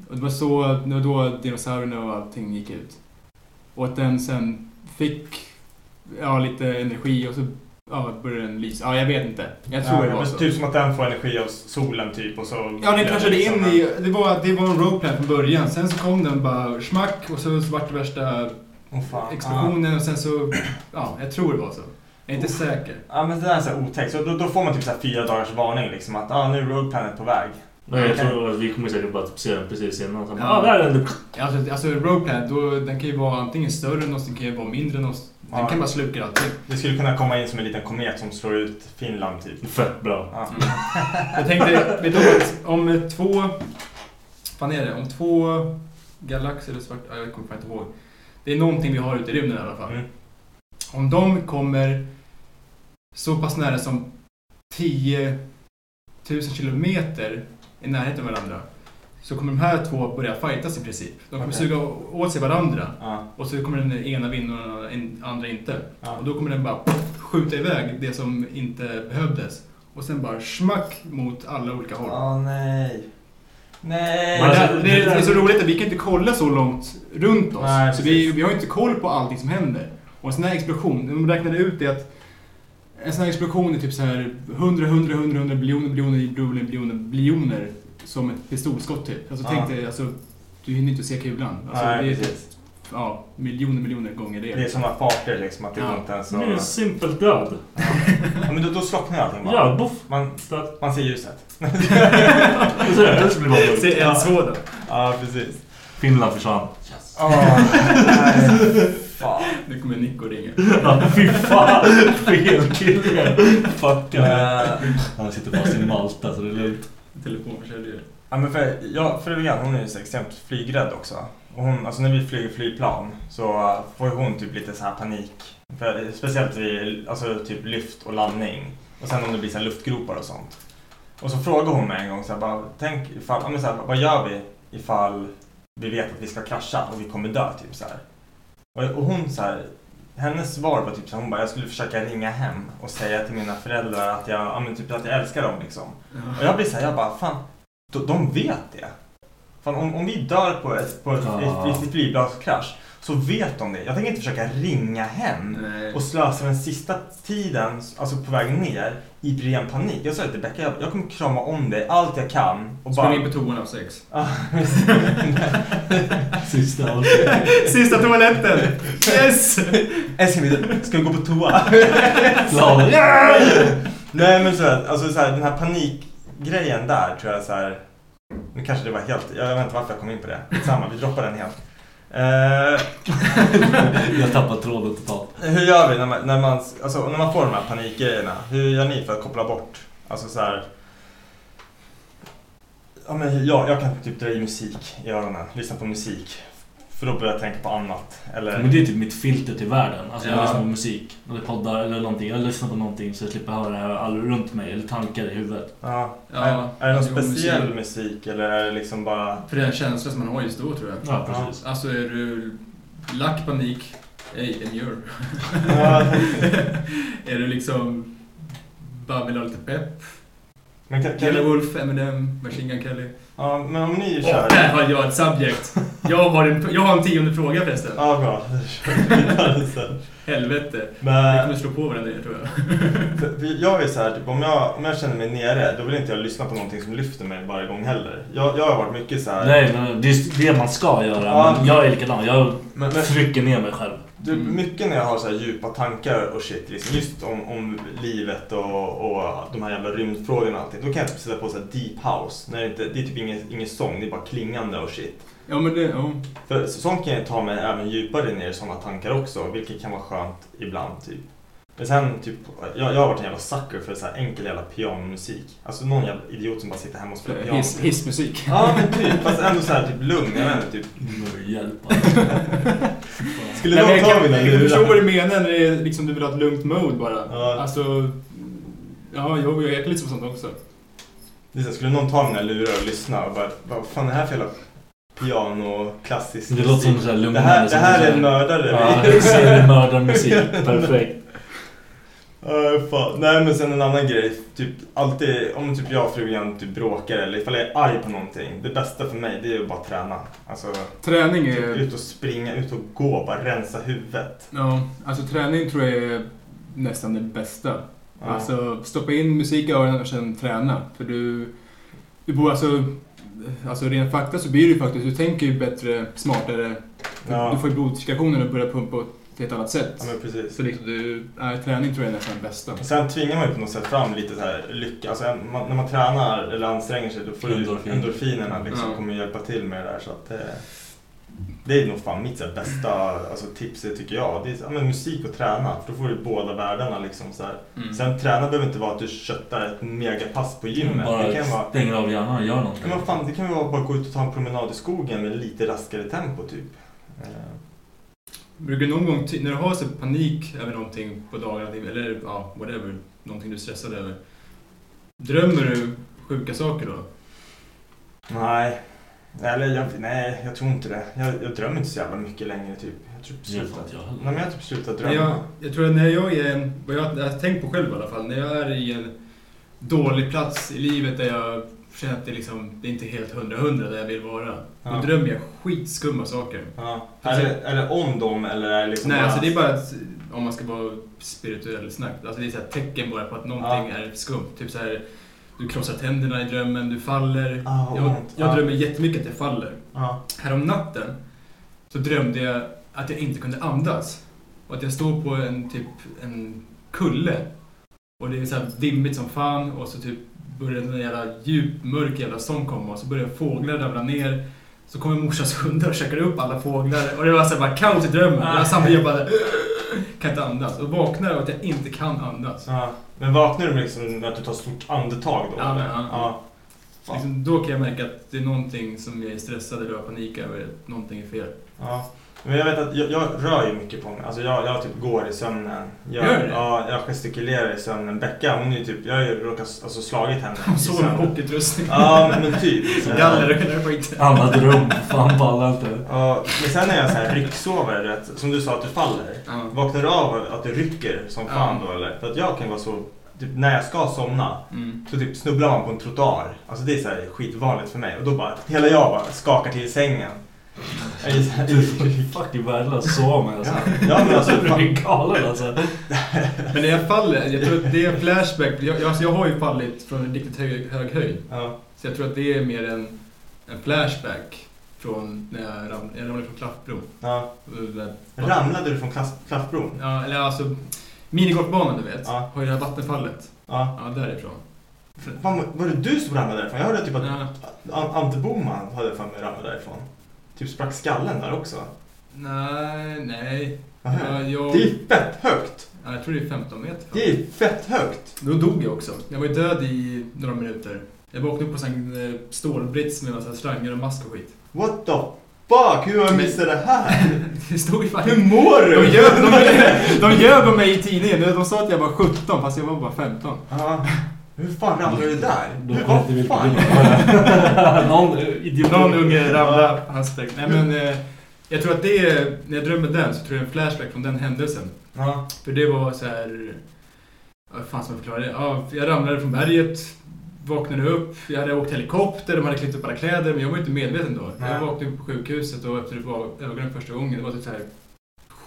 Och det var så, det var då dinosaurierna och allting gick ut. Och att den sen fick, ja, lite energi och så ja, började den lysa. Ja, jag vet inte. Jag tror
Ja,
det var
men
så.
Typ som att den får energi av solen typ och så...
Ja, den kraschade in
Liksom,
i... Det var, det var en roadplan från början. Sen så kom den bara smack och så vart det värsta
Åh, fan.
explosionen och sen så... Ja, jag tror det alltså. var så. Jag är inte säker.
Ja men det där är så här otäckt. Så då, då får man typ så här fyra dagars varning liksom att ah, nu är Rogue Planet på väg.
Nej, jag tror att vi kommer säkert bara typ se den precis innan. Så bara,
Ja.
ah, där är den!
Alltså, alltså roadplan, då, den kan ju vara antingen större än oss, den kan ju vara mindre än oss. Den
Ja.
kan bara sluka allting.
Det skulle kunna komma in som en liten komet som slår ut Finland typ.
Fett bra.
Ja.
Jag tänkte, vet du att om två... Fan är det? Om två galaxer eller svart... ja, Jag kommer fan inte ihåg. Det är någonting vi har ute i rymden i alla fall.
Mm.
Om de kommer så pass nära som 10 000 kilometer i närheten av varandra så kommer de här två börja fightas i princip. De kommer
Okej.
suga å- åt sig varandra
Ja.
och så kommer den ena vinna och den in- andra inte.
Ja.
Och då kommer den bara skjuta iväg det som inte behövdes och sen bara smack mot alla olika håll.
Åh nej. Nej.
Men
Alltså,
det, det,
det-
är så roligt att vi kan inte kolla så långt runt oss.
Nej,
så vi, vi har inte koll på allting som händer. Och en sån här explosion, de räknade ut det att en sån här explosion är typ så här 100, 100, 100, 100 biljoner, biljoner, biljoner, biljoner, biljoner som ett pistolskott typ. Alltså
Ja.
tänk dig, alltså, du hinner inte se kulan. Alltså,
Nej,
det är typ,
precis.
ja, miljoner, miljoner gånger det.
Det är sådana farter liksom att det
Ja.
går inte ens
Det är en
att...
simpel död.
Ja, men då, då slocknar ju allting bara.
Ja, boff!
Man,
Död.
man ser ljuset.
Så är det, så blir det bara
Se en sådan.
Ja, precis.
Finland försvann. Yes.
Åh, nej. Fan.
Nu kommer Nico ringa.
Ja, fy fan! Fel kille! Fuckar.
Eh,
Han sitter fast i Malta så det är lugnt.
Telefonförsäljare.
Ja, men för, ja, frugan hon är ju så extremt flygrädd också. Och hon, alltså när vi flyger flygplan så eh, får ju hon typ lite så här panik. För, speciellt vid alltså, typ lyft och landning. Och sen om det blir så här luftgropar och sånt. Och så frågar hon mig en gång så här, bara, tänk ifall, ja, men så här, vad gör vi ifall vi vet att vi ska krascha och vi kommer dö typ så här. Och, och hon så här, hennes svar var typ så här, hon bara, jag skulle försöka ringa hem och säga till mina föräldrar att jag, ja, men typ att jag älskar dem liksom. Och jag blir såhär, jag bara fan, de, de vet det. Fan, om, om vi dör på ett, på ett,
Ja.
ett, ett flygplanskrasch så vet de det. Jag tänker inte försöka ringa hem
Nej.
och slösa den sista tiden, alltså på väg ner, i ren panik. Jag sa det till Becka, jag, jag kommer krama om dig allt jag kan och
Spring
bara...
in på toan av sex.
Ah,
Sista avsnittet.
Sista toaletten! Yes!
Älskling, vi- ska vi gå på toa?
Glad.
Nej men så här, alltså så här, den här panikgrejen där tror jag så här. Nu kanske det var helt, Eh, jag vet inte varför jag kom in på det. Samma, vi droppar den helt.
Jag tappar tråden totalt.
Hur gör vi när man, när man, alltså, när man får de här panikgrejerna? Hur gör ni för att koppla bort? Alltså så här... Ja, men jag, jag kan typ dra i musik i öronen, lyssna på musik. För då börjar jag tänka på annat. Eller...
Mm.
Men det är typ mitt filter till världen. Alltså jag
Ja.
lyssnar på musik, eller poddar eller någonting. Jag lyssnar på någonting så jag slipper höra det här all runt mig, eller tankar i huvudet.
Ja.
Ja,
är, är det någon
jo, musik.
speciell musik. eller är det liksom bara...
För det är en känsla som man har just då tror jag.
Ja, precis.
Alltså är du lack, panik, ej, endure.
Ja.
är du liksom bara vill ha lite pepp?
Men kan- kan
Yellow
vi-
Wolf, Eminem, Machine Gun Kelly.
Ja, men om ni
Och
kör...
där har jag ett subjekt. Jag har en, jag har en tionde fråga förresten.
Ja, bra. Då kör vi vidare sen.
Helvete.
Men-
Vi kommer slå på varandra tror jag.
För- för Jag är så här, typ, om, jag, om jag känner mig nere, då vill inte jag lyssna på någonting som lyfter mig varje gång heller. Jag, jag har varit mycket så här...
Nej, men det är det man ska göra.
Ja.
Men jag är likadan. Jag
Men- men-
trycker ner mig själv.
Du, mycket när jag har så här djupa tankar och shit, liksom, just om, om livet och, och de här jävla rymdfrågorna och allting. Då kan jag typ sätta på så här deep house. När det, inte, det är typ ingen, ingen sång, det är bara klingande och shit.
Ja men det, ja.
För så- sånt kan jag ta mig även djupare ner i sådana tankar också, vilket kan vara skönt ibland typ. Men sen typ, jag, jag har varit en jävla sucker för så här enkel jävla pianomusik. Alltså någon jävla idiot som bara sitter hemma och spelar
Eh,
Hiss-
piano.
hissmusik.
Ja men typ, fast ändå så här typ lugn, jag vet inte typ.
Hjälp
Skulle
Nej, men
någon
jag
ta
kan-
mina
Jag
lurar?
förstår vad du menar när det är liksom, du vill ha ett lugnt mode bara. Alltså, ja, jag, jag är lite som sånt också.
Det är så här, skulle någon ta mina lurar och lyssna och bara, vad fan är det här för jävla piano, klassisk
Det låter som så här
Det här,
lugnande.
det här är en
Ja,
mördare.
det är mördarmusik. Perfekt.
Uh, fan. Nej men sen en annan grej, typ alltid om typ jag och frugan typ bråkar eller ifall jag är arg på någonting. Det bästa för mig det är att bara träna. Alltså,
Träning är-
Typ, ut och springa, ut och gå, bara rensa huvudet.
Ja, alltså träning tror jag är nästan det bästa.
Ja.
Alltså stoppa in musik i öronen och sen träna. För du, du bor alltså, alltså rent fakta så blir du ju faktiskt, du tänker ju bättre, smartare. Du,
Ja.
du får ju blodcirkulationen att börja pumpa till ett annat sätt.
Ja, men precis.
Så liksom du, nej, träning tror jag är nästan det bästa.
Och Sen tvingar man ju på något sätt fram lite så här lycka. Alltså, en- man, när man tränar eller anstränger sig då får du
Endorfin.
endorfinerna liksom
Ja.
kommer hjälpa till med det där. Så att, eh, det är nog fan mitt så här, bästa alltså, tips det tycker jag. Det är, så- ja, men musik och träna, för då får du båda världarna. Liksom, så här.
Mm.
Sen träna behöver inte vara att du köttar ett megapass på gymmet.
Bara
det kan vara,
stänger av hjärnan och gör någonting.
Ja, Men vad fan, det kan ju vara bara gå ut och ta en promenad i skogen med lite raskare tempo typ. Eh,
Brukar du någon gång, ty- när du har så här panik över någonting på dagarna, eller ja, whatever, någonting du är stressad över. Drömmer du sjuka saker då?
Nej. Eller jag, nej, jag tror inte det. Jag, jag drömmer inte så jävla mycket längre typ. Jag tror typ
Det gör
slutat.
fan inte jag heller.
Nej men jag har typ slutat
Men
drömma.
Jag, jag tror att när jag är en, vad jag jag har tänkt på själv i alla fall, när jag är i en dålig plats i livet där jag känner att det, liksom, det är inte är helt hundra-hundra där jag vill vara.
Ja.
Då drömmer jag skitskumma saker.
Ja. Är, det, är det om dem eller är det liksom
Nej,
bara-
alltså det är bara ett, om man ska vara spirituell snabbt. Alltså det är så här tecken bara på att någonting är skumt. Typ så här, du krossar tänderna i drömmen, du faller.
Ah, vad
jag
ont.
jag
Ah.
drömmer jättemycket att jag faller.
Ja.
Härom natten så drömde jag att jag inte kunde andas. Och att jag står på en typ en kulle. Och det är så här dimmigt som fan och så typ börjar en jävla djup mörk jävla sång komma och så börjar fåglar ramla ner. Så kommer morsans hundar och käkar upp alla fåglar. Och det var så här bara kaos i drömmen. Och jag samtidigt bara kan inte andas. Och vaknar av att jag inte kan andas.
Ja. Men vaknar du med liksom med att du tar stort andetag då?
Ja,
eller?
men, ja.
ja. Fan.
Liksom, då kan jag märka att det är någonting som jag är stressad eller har panik över. Att någonting är fel.
Ja. Men jag vet att jag, jag rör ju mycket på mig. Alltså jag, jag typ går i sömnen. Jag,
Gör du det?
Ja, jag gestikulerar i sömnen. Becka, hon är ju typ... Jag har ju råkat alltså, slagit henne.
Hon
i
sover med
sömnen.
hockeyutrustning.
Ja, men, men typ.
Som galler och hela skiten.
Annat rum, fan pallar inte.
Ja, men sen är jag så här rycksovare, du vet, som du sa att du faller. Vaknar du av att du rycker som
Ja.
fan då eller? För att jag kan vara så, typ, när jag ska somna,
Mm.
så typ snubblar man på en trottoar. Alltså det är så här skitvanligt för mig. Och då bara, hela jag bara skakar till sängen. Jag är så här-
Du är fucking värdelös så med alltså.
Ja, ja, men alltså,
Du är
fan.
galen alltså.
Men när jag faller, jag tror att det är en flashback. Jag, jag, alltså jag har ju fallit från en riktigt hög, hög höjd. Så jag tror att det är mer en, en flashback från när jag ramlade, jag ramlade från klaffbron.
Ja.
Ramlade
du från klaffbron?
Ja, eller alltså minigolfbanan du vet.
Ja.
Har ju det här vattenfallet.
Ja.
ja därifrån.
Fan, var det du som ramlade därifrån? Jag hörde typ att
Ja.
An- Ante Boman hade för mig ramlat därifrån. Typ sprack skallen där också.
Nej, nej.
Aha.
Ja, jag-
Det är ju fett högt!
Ja, jag tror det är 15 meter.
Det är ju fett högt!
Då dog jag också. Jag var ju död i några minuter. Jag vaknade upp på en sån, eh, stålbrits med massa slanger och mask och skit.
What the fuck? Hur har jag missat det här?
Det stod ju fan...
Hur mår du?
De ljög, de, de ljög om mig i tidningen. De sa att jag var 17 fast jag var bara 15.
Ja. Hur fan ramlade du där?
Då
Hur,
skiter vi
vad
på
fan?
det. Någon idiot.
Någon unge ramlade hashtag. Nej men eh, jag tror att det är, när jag drömmer den så tror jag det är en flashback från den händelsen.
Ja.
För det var så här... ja, Vad fan ska man förklara det? Ja, jag ramlade från berget, vaknade upp, jag hade åkt helikopter, de hade klippt upp alla kläder, men jag var inte medveten då.
Nej.
Jag vaknade upp på sjukhuset och efter att jag var- ögonen första gången, det var typ så här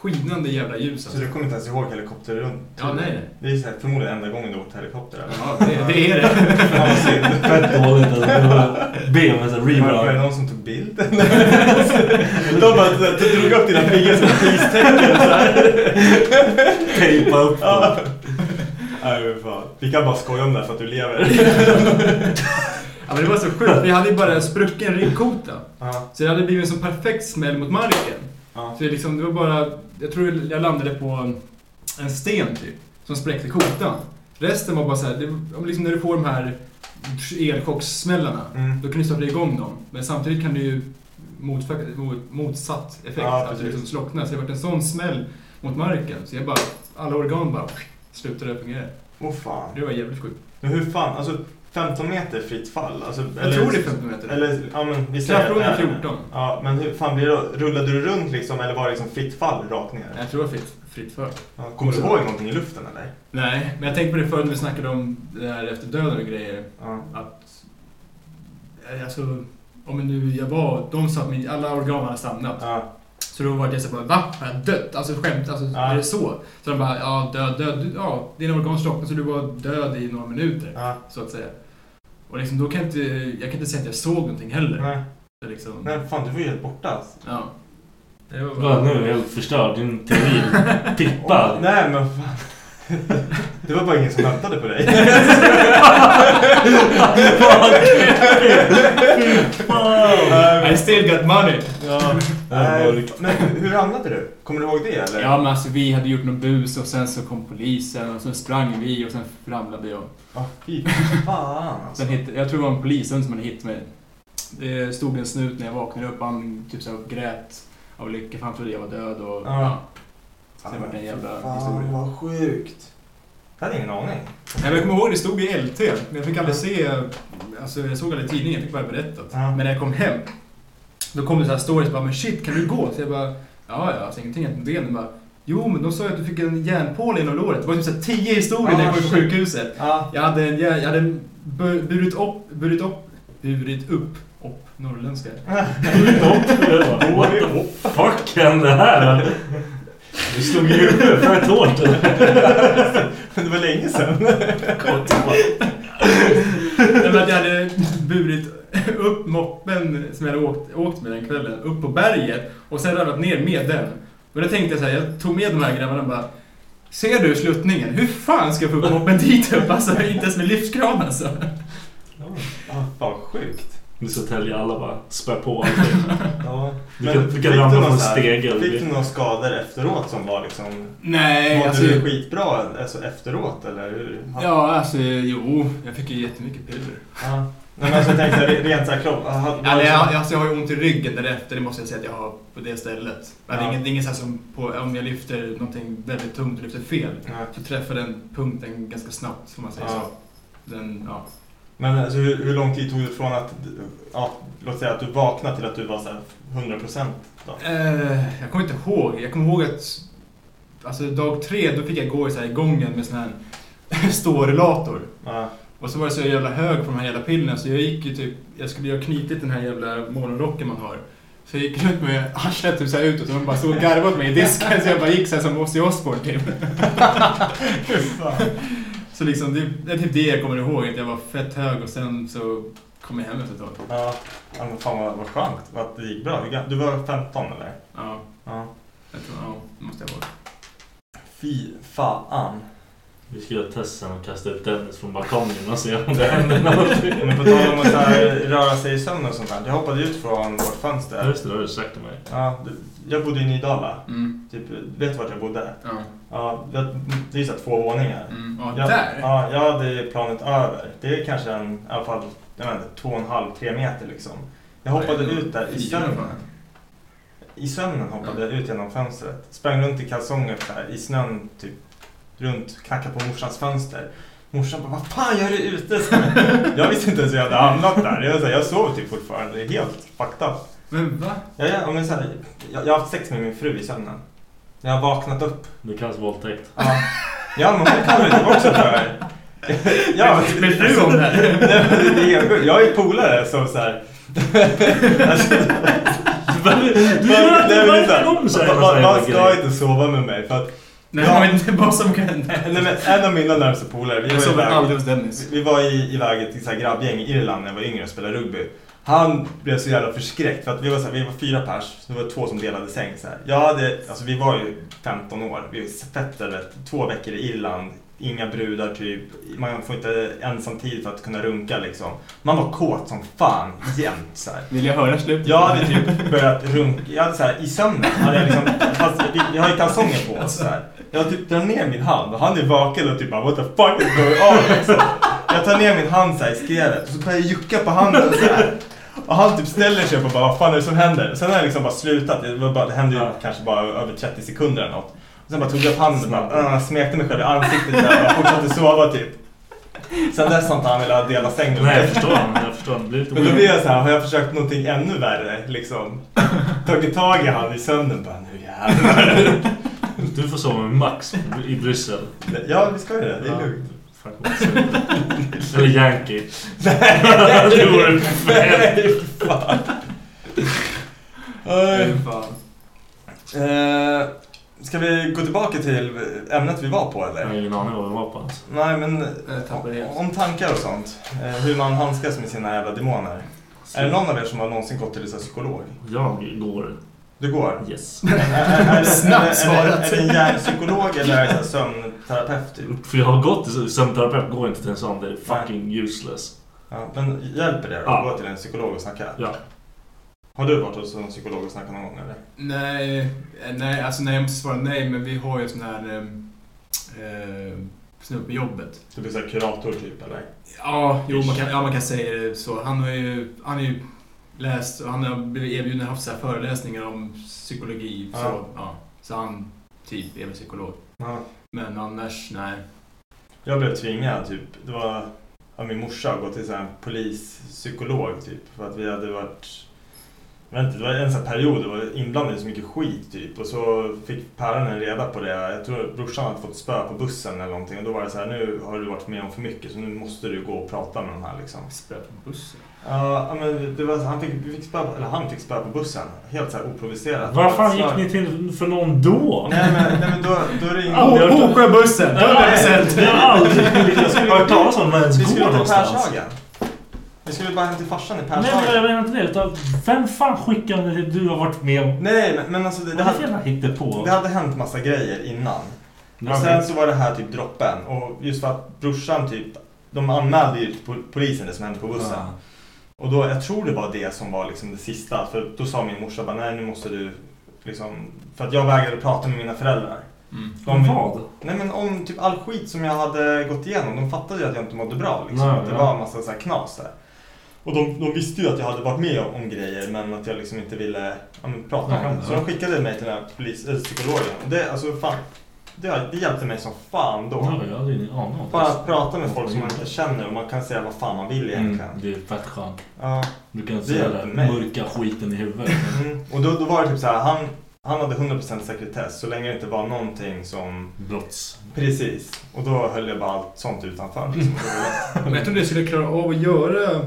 skinande jävla ljus
Så
alltså.
du kommer inte ens ihåg helikopterrunt?
Ja, nej, nej.
Det är så här, förmodligen enda gången du åkt helikopter. eller?
Ja, det, det är det.
Fan, vad synd.
Fett dåligt alltså. Det var- Be om en sån här
Var, var det
rebound.
någon som tog bild? De bara så här, drog upp dina fingrar som ett pristecken så här.
Tejpa upp
Ja.
dem.
Nej men fan. Vi kan bara skoja om det här för att du lever.
Ja, men det var så sjukt, vi hade ju bara en sprucken ryggkota.
Ja.
Så det hade blivit en sån perfekt smäll mot marken.
Ja.
Så det, liksom, det var bara, jag tror jag landade på en- en sten typ, som spräckte kotan. Resten var bara så här, det, om liksom när du får de här elchockssmällarna,
Mm.
då kan du starta igång dem. Men samtidigt kan du ju motverka- mot, motsatt effekt,
Ja,
att du
precis.
liksom slocknar. Så det vart en sån smäll mot marken, så jag bara, alla organ bara slutade fungera.
Åh fan.
Det var jävligt sjukt.
Men hur fan, alltså 15 meter fritt fall? Alltså,
Jag tror det är 15 meter.
Eller, ja men vi säger
Straffrunda
att det är-
14.
Ja, men hur fan blir det då? Rullade du runt liksom eller var det liksom fritt fall rakt ner?
Jag tror det var fritt, fritt för.
Ja, kommer du ihåg någonting i luften eller?
Nej, men jag tänkte på det förr när vi snackade om det här efter döden och grejer.
Ja.
att... eh, Alltså, om nu jag var... De sa att min, alla organ hade stannat.
Ja.
Så då var jag så här bara, va? Har jag dött? Alltså skämt, alltså
Ja.
är det så? Så de bara, ja död, död, du, ja dina organ slocknade så du var död i några minuter.
Ja.
Så att säga. Och liksom då kan jag inte, jag kan inte säga att jag såg någonting heller.
Nej.
Det är liksom,
Nej, fan du var ju helt borta alltså.
Ja. Det var
Ja, nu är jag helt förstörd. Din teori
Åh,
tippad.
nej men fan. Det var bara ingen som väntade på dig.
I still got money! Ja.
Nej, men hur hamnade du? Kommer du ihåg det eller?
Ja men alltså vi hade gjort någon bus och sen så kom polisen och sen sprang vi och sen ramlade jag.
Ah, fy fan alltså.
Sen hittade, jag tror det var en polishund som hade hittat mig. Det stod en snut när jag vaknade upp. Han typ så här grät av lycka för han trodde jag var död och
Ja.
ja. Sen
Ja,
vart det en
men
jävla
fan,
historia.
vad sjukt. Jag hade ingen aning.
Nej, men jag kommer ihåg det stod i LT. Men jag fick aldrig se, alltså jag såg aldrig tidningen, jag fick bara berättat.
Ja.
Men när jag kom hem, då kom det så här stories bara, men shit kan du gå? Så jag bara, ja ja, alltså ingenting hänt med benen. Bara, jo men de sa ju att du fick en järnpåle inom låret. Det var typ så här tio historier när jag
Ah,
var på
shit.
sjukhuset.
Ja.
Jag hade, en, jag jag hade en bu- burit upp, burit upp, burit upp, upp, norrländska.
What the fuck hände här? Du slog ju huvudet fett hårt.
Men det var länge sedan.
Nej, men att jag hade burit upp moppen som jag hade åkt, åkt med den kvällen, upp på berget och sen ramlat ner med den. Men då tänkte jag så här, jag tog med de här grabbarna och bara Ser du sluttningen? Hur fan ska jag få upp moppen dit upp? Alltså inte ens med lyftkran alltså.
Ah, fan sjukt.
I Södertälje, alla bara spär på allting.
Ja.
Du kan- du kan
fick
ramla
någon
från en
så här-
stege.
Fick du några skador efteråt som var liksom...
Nej,
Mådde
alltså.
du skitbra alltså, efteråt eller hur?
Ja, alltså jo. Jag fick ju jättemycket piller.
Ja. Nej men alltså jag tänkte re- rent såhär kropp... ah, var det
Ja, nej,
så-
jag, alltså jag har ju ont i ryggen därefter, det måste jag säga att jag har på det stället. Men det
Ja.
är inget, det är inget så här som på, om jag lyfter någonting väldigt tungt och lyfter fel.
Nej.
Så träffar den punkten ganska snabbt, om man säger
Ja.
så. Den, ja.
Men alltså, hur, hur lång tid tog det från att... Ja, låt säga att du vaknade till att du var såhär 100% då?
Eh, jag kommer inte ihåg. Jag kommer ihåg att alltså, dag tre, då fick jag gå i, så här, i gången med sån här stårelator.
Ja.
Och så var jag så jävla hög på de här jävla pillerna så jag gick ju typ, jag skulle ju ha knutit den här jävla morgonrocken man har. Så jag gick runt med arslet typ så här utåt och de bara stod och garvade åt mig i disken så jag bara gick så här som Ozzy Osbourne typ. så liksom, det, det är typ det jag kommer ihåg, att jag var fett hög och sen så kom jag hem efter ett tag.
Ja. ja men fan vad, vad skönt att det gick bra. Hur gam- Du var 15 eller?
Ja,
Ja.
jag tror, ja, det måste jag vara.
Fy fan.
Vi ska göra ett test sen och kasta ut Dennis från balkongen och se om det händer någonting.
Men på tal om att så här, röra sig i sömnen och sånt där. Jag hoppade ut från vårt
Ja,
fönster.
Just det, det har du sagt till mig.
Ja, du, jag bodde i Nydala.
Mm.
Typ, vet du vart jag bodde?
Ja.
Ja, det det är så här två våningar.
Mm. Ja,
jag,
där?
Ja, jag hade planet över. Det är kanske en, i alla fall, jag vet inte, två och en halv, tre meter liksom. Jag hoppade
Ja,
ut där i
fyra
sömnen.
fan.
I sömnen hoppade jag ut genom fönstret. Sprang runt i kalsonger så här, i snön, typ runt, knackade på morsans fönster. Morsan bara, vad fan gör du ute? Så här. jag visste inte ens hur jag hade hamnat där. Jag, var så här, jag sov typ fortfarande, Det är helt fucked up.
Men va?
Ja, ja, men så här, jag, jag har haft sex med min fru i sömnen. Jag har vaknat upp.
Det kallas våldtäkt.
Ja, ja men hon kallar det också för.
Men- men fru om det här?
Nej, men det är helt sjukt. Jag är polare som så här. Alltså,
Du
man-
gör
nej,
alltid
men det är
varje
så här,
gång så är det
man-
sån här
Man
jävla
ska
grej.
inte sova med mig för att
Nej,
Ja.
jag vet inte vad som kan hända.
Nej, men en av mina närmaste polare, vi
Jag
var
sover
iväg-
aldrig hos Dennis.
Vi var i, iväg i ett så här grabbgäng i Irland när jag var yngre och spelade rugby. Han blev så jävla förskräckt för att vi var, så här, vi var fyra pers, så det var två som delade säng. Så här. Jag hade, alltså vi var ju 15 år, vi fettade två veckor i Irland, inga brudar typ, man får inte ensam tid för att kunna runka liksom. Man var kåt som fan jämt så här.
Vill jag höra slutet?
Jag hade typ börjat runka, jag hade så här, i sömnen hade jag liksom, fast vi, vi har ju kalsonger på oss så här. Jag typ drar ner min hand och han är vaken och typ bara what the fuck is going on liksom. Jag tar ner min hand så här i skrevet och så börjar jag jucka på handen så här. Och han typ ställer sig upp och bara vad fan är det som händer? Sen har jag liksom bara slutat, det, var bara, det hände ju kanske bara över 30 sekunder eller något. Och sen bara tog jag upp handen och bara, "Ah", smekte mig själv i ansiktet så här, och fortsatte sova typ. Sen dess har inte han velat dela säng med
Nej,
mig.
jag förstår. Jag förstår. Det blir lite
Men då blir
weird.
jag så här, har jag försökt någonting ännu värre? Liksom. Tagit tag i han i sömnen bara, nu jävlar.
Du får sova med Max i Bryssel.
Ja, vi ska ju det. Det
Ja.
är lugnt.
Fan, vad sjukt. Eller Yankee. Det vore fett.
Nej, fan. Oj.
Fy fan.
Eh, Ska vi gå tillbaka till ämnet vi var på
Jag har
eller?
ingen aning vad vi var på alltså. ens.
Nej, men
Jag tappar helt.
om tankar och sånt. Eh, Hur man handskas med sina jävla demoner. Är det någon av er som har någonsin gått till en psykolog?
Jag går.
Du går?
Yes.
Snabbt
svarat.
svarat.
Är det en hjärnpsykolog eller är det så här sömnsterapeut typ?
För jag har gått till sömnterapeut, går inte till en sån. Det är fucking useless.
Ja, men hjälper det då att
Ja.
gå till en psykolog och snacka?
Ja.
Har du varit hos en psykolog och snackat någon gång eller?
Nej, eh, nej, alltså nej, jag måste svara nej, men vi har ju sån här eh, eh, snubbe på jobbet.
Du blir såhär kurator typ eller?
Ja, jo, man kan, ja, man kan säga det så. Han har ju, han har ju läst och han har blivit erbjuden och haft så här föreläsningar om psykologi.
Ja.
Så, ja, så han typ är väl psykolog.
Ja.
Men annars, nej.
Jag blev tvingad typ. Det var av min morsa att gå till så här en polispsykolog typ. För att vi hade varit... Jag vet inte, det var en sån här period det var inblandade i så mycket skit typ. Och så fick päronen reda på det. Jag tror brorsan hade fått spö på bussen eller någonting. Och då var det så här, nu har du varit med om för mycket så nu måste du gå och prata med de här liksom.
Spö på bussen.
Ja, ja, men det var, han fick, vi fick spö, på- eller han fick spö på bussen. Helt så här oprovocerat.
Vad fan
Snarare-
Alltså-
gick ni till för någon då?
Nej men, nej, men då, då ringde...
Au,
jag-
au.
Hoksjöbussen!
Jag har aldrig jag skulle hört talas om vem
Vi
ens
skulle
går
till
någonstans.
Pershagen. Vi skulle bara hem till farsan i
Nej men jag
Pershagen.
menar inte det. Utan vem fan skickar ni till du har varit med om?
Nej, men, men alltså det,
Vad
det,
är det för
hade,
jävla
det
hittepå?
hade hänt massa grejer innan.
Ja,
Och sen
men-
så var det här typ droppen. Och just för att brorsan typ, de anmälde ju till pol- polisen det som hände på bussen.
Ja.
Och då, jag tror det var det som var liksom det sista. För då sa min morsa bara, nej nu måste du liksom... För att jag vägrade prata med mina föräldrar.
Mm.
Om vad?
Nej men om typ all skit som jag hade gått igenom. De fattade ju att jag inte mådde bra. Liksom.
Nej,
att det
ja.
var en massa så här knas där. Och de, de visste ju att jag hade varit med om, om grejer men att jag liksom inte ville ja, men, prata
Nej,
om det. Så
ja.
de skickade mig till den här polis, äh, psykologen. Och Det, alltså, fan, det, det hjälpte mig som fan då.
Ja, Jag hade ingen aning om det.
Bara att prata med folk som man inte känner och man kan säga vad fan man
Mm,
vill egentligen.
Det är fett skönt.
Ja.
Du kan
Det
säga
hjälpte
den
mig.
mörka skiten i huvudet.
Mm. Och då, då var det typ så här, han, han hade 100% sekretess så länge det inte var någonting som...
Brotts...
Precis. Och då höll jag bara allt sånt utanför. Liksom. Det var lätt.
Men jag trodde jag skulle klara av att göra...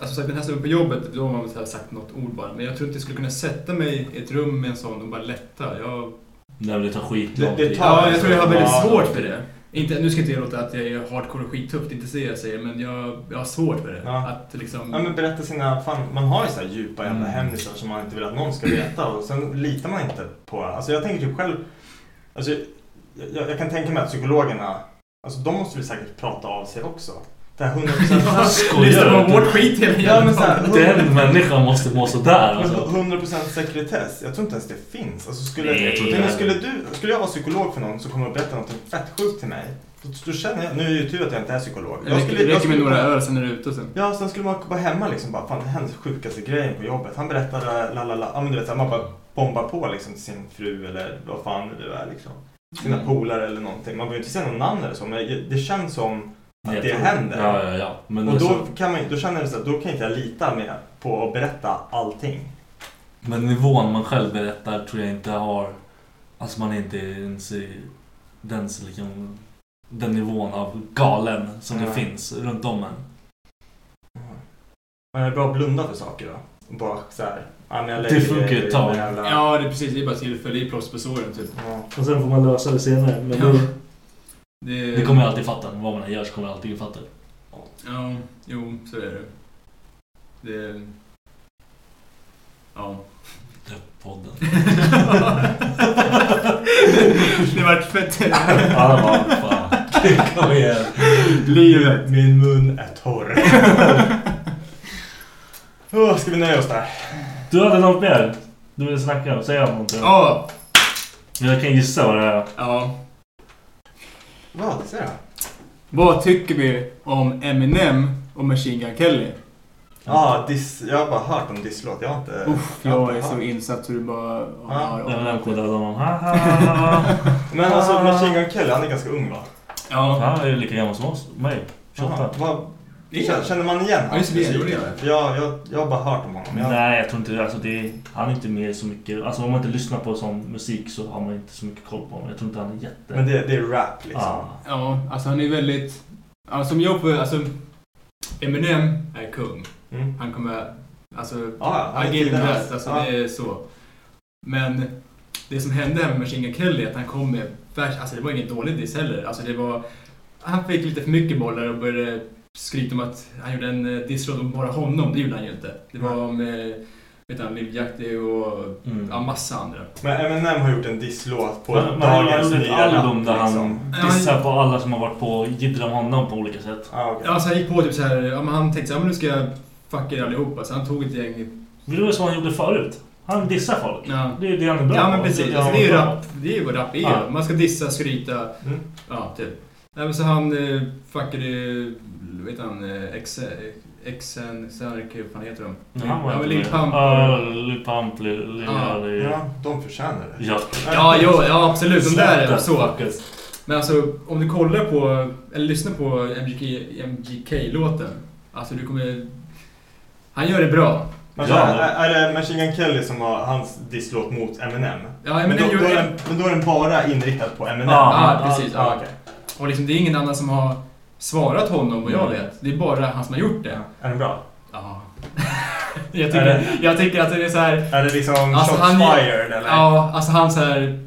Alltså så här, den här snubben på jobbet, då har man väl så här sagt något ord bara. Men jag tror inte jag skulle kunna sätta mig i ett rum med en sån och bara lätta. Jag,
Nej men det tar skit
Det-
lång
det
tid.
tar-
ja, jag tror jag har väldigt
Ja.
svårt för det. Inte, nu ska inte jag låta att jag är hardcore och skittuff, det är inte så jag säger. Men jag, jag har svårt för det.
Ja.
Att liksom...
Ja men berätta sina, fan, man har ju så här djupa jävla
Mm.
hemlisar som man inte vill att någon ska veta och sen litar man inte på det. Alltså jag tänker typ själv, alltså, jag, jag kan tänka mig att psykologerna, alltså de måste väl säkert prata av sig också. Det här 100%
Skojar du?
Ja, men så här,
Den människan måste må sådär alltså.
100% sekretess. Jag tror inte ens det finns. Alltså, skulle,
Nej, jag tror inte
men
det.
skulle, du, skulle jag vara psykolog för någon som kommer och berätta något fett sjukt till mig. Då, då känner jag, nu är det ju tur att jag inte är psykolog.
Det räcker- det räcker med några öl, sen är du ute och sen.
Ja, sen skulle man vara hemma liksom bara, fan det hände sjukaste grejen på jobbet. Han berättade la la la. Ja men du vet, så här, man bara bombar på liksom till sin fru eller vad fan det nu är liksom. Sina
Mm.
polare eller någonting. Man behöver inte säga något namn eller så, men det känns som att
Jag
det
tror-
händer.
Ja, ja, ja. Men
och då,
alltså-
kan man, ju- då känner jag så att då kan inte jag lita mer på att berätta allting.
Men nivån man själv berättar tror jag inte har... Alltså man är inte ens i den, så liksom, den nivån av galen som det
Nej.
finns runt om en.
Men är det bra att blunda för saker då? Och bara så här, ja, men jag
Det
lägger
funkar ju ett
i
tag.
den jävla-
Ja, det är precis. Det är bara tillfälle. Det är plåster på såren typ.
Ja.
Och sen får man lösa det senare. Men då,
Det,
Det kommer jag alltid fatta. Vad man än gör så kommer jag alltid fatta.
Ja, jo, så är det. Det... Ja.
Podden.
det vart fett.
Ja, det var fan. Kom igen.
Livet.
Min mun är torr. Åh, ska vi nöja oss där?
du hade något mer? Du ville snacka och säga någonting?
Ja.
Jag kan gissa vad det är.
Ja.
Vad? Ser jag?
Vad tycker vi om Eminem och Machine Gun Kelly?
Ja, diss, jag har bara hört om disslåt. Jag har inte...
Uff,
har
jag
inte
är så
hört.
insatt så du bara... Ja,
Ja,
ja,
Den
ja.
här kodade honom. Ha, ha, ha, ha.
Men
Ah.
alltså Machine Gun Kelly, han är ganska ung va?
Ja.
Han är ju lika gammal som oss. Mig. 28.
Jaha, vad- Känner- Känner man igen
Ja, just det, det
musik?
gjorde jag.
Ja, jag, jag har bara hört om honom. Jag,
Nej, jag tror inte det. Alltså, det är, han är inte med så mycket. Alltså om man inte lyssnar på sån musik så har man inte så mycket koll på honom. Jag tror inte han är jätte... Ah.
Men det, det är rap liksom.
Ja.
Ja, alltså han är väldigt... Ja, som jag på... Alltså... Eminem är kung.
Mm.
Han kommer... Alltså...
Ja,
I
han är
give him
tidernas.
that. Alltså
Ja.
det är så. Men det som hände här med Machine Gun Kelly är att han kom med värst... Alltså det var ingen dålig diss heller. Alltså det var... Han fick lite för mycket bollar och började skryta om att han gjorde en eh, disslåt om bara honom. Det gjorde han ju inte. Det var om... eh, Vet han, Liv Jacti och
Mm.
ja, massa andra.
Men Eminem har gjort en disslåt på
Men- men han har
dagens
gjort ett
nya
album där
rap,
han
liksom.
dissar på alla som har varit på och jiddrar med honom på olika sätt.
Ja, Ah, okej.
Ja, Alltså han gick på typ så här, ja, men han tänkte så här, "Ja, men nu ska jag fucka er allihopa. Så han tog ett gäng.
Vill du vara som han gjorde förut? Han dissar folk.
Ja.
Det är det han är bra
Ja
på.
men
Det är
precis,
det
alltså,
han
det är ju
bra på.
rap. Det är ju vad rap är.
Ja.
Man ska dissa, skryta,
Mm.
ja typ. Nej, men så han eh, fuckade, vet han, eh, X- XN, Sark, vad fan heter de?
Nej, Han var
ja,
inte
Lil
med.
Pump.
Ja, Lil Pump, Lil... Lil-
Ja.
Lil-
Ja, de förtjänar det.
Ja.
Ja, jo, ja absolut. De där är
Sluta,
så.
fuckers.
Men alltså om du kollar på, eller lyssnar på MGK, MGK-låten. Alltså du kommer... Han gör det bra.
Men
Ja.
så här, är, är det Machine Gun Kelly som har hans disslåt mot Eminem?
Ja,
men, då,
Eminem
då
gjorde-
är den, men då är den bara inriktad på Eminem?
Ja,
Ja, precis.
Ja,
Ja.
okej.
Och liksom, det är ingen annan som har svarat honom vad jag
Mm.
vet. Det är bara han som har gjort det.
Är den bra?
Ja. jag,
Är
tycker,
det-
jag tycker att det är så här.
Är det liksom
Alltså,
shots
han-
fired eller?
Ja, alltså han så här.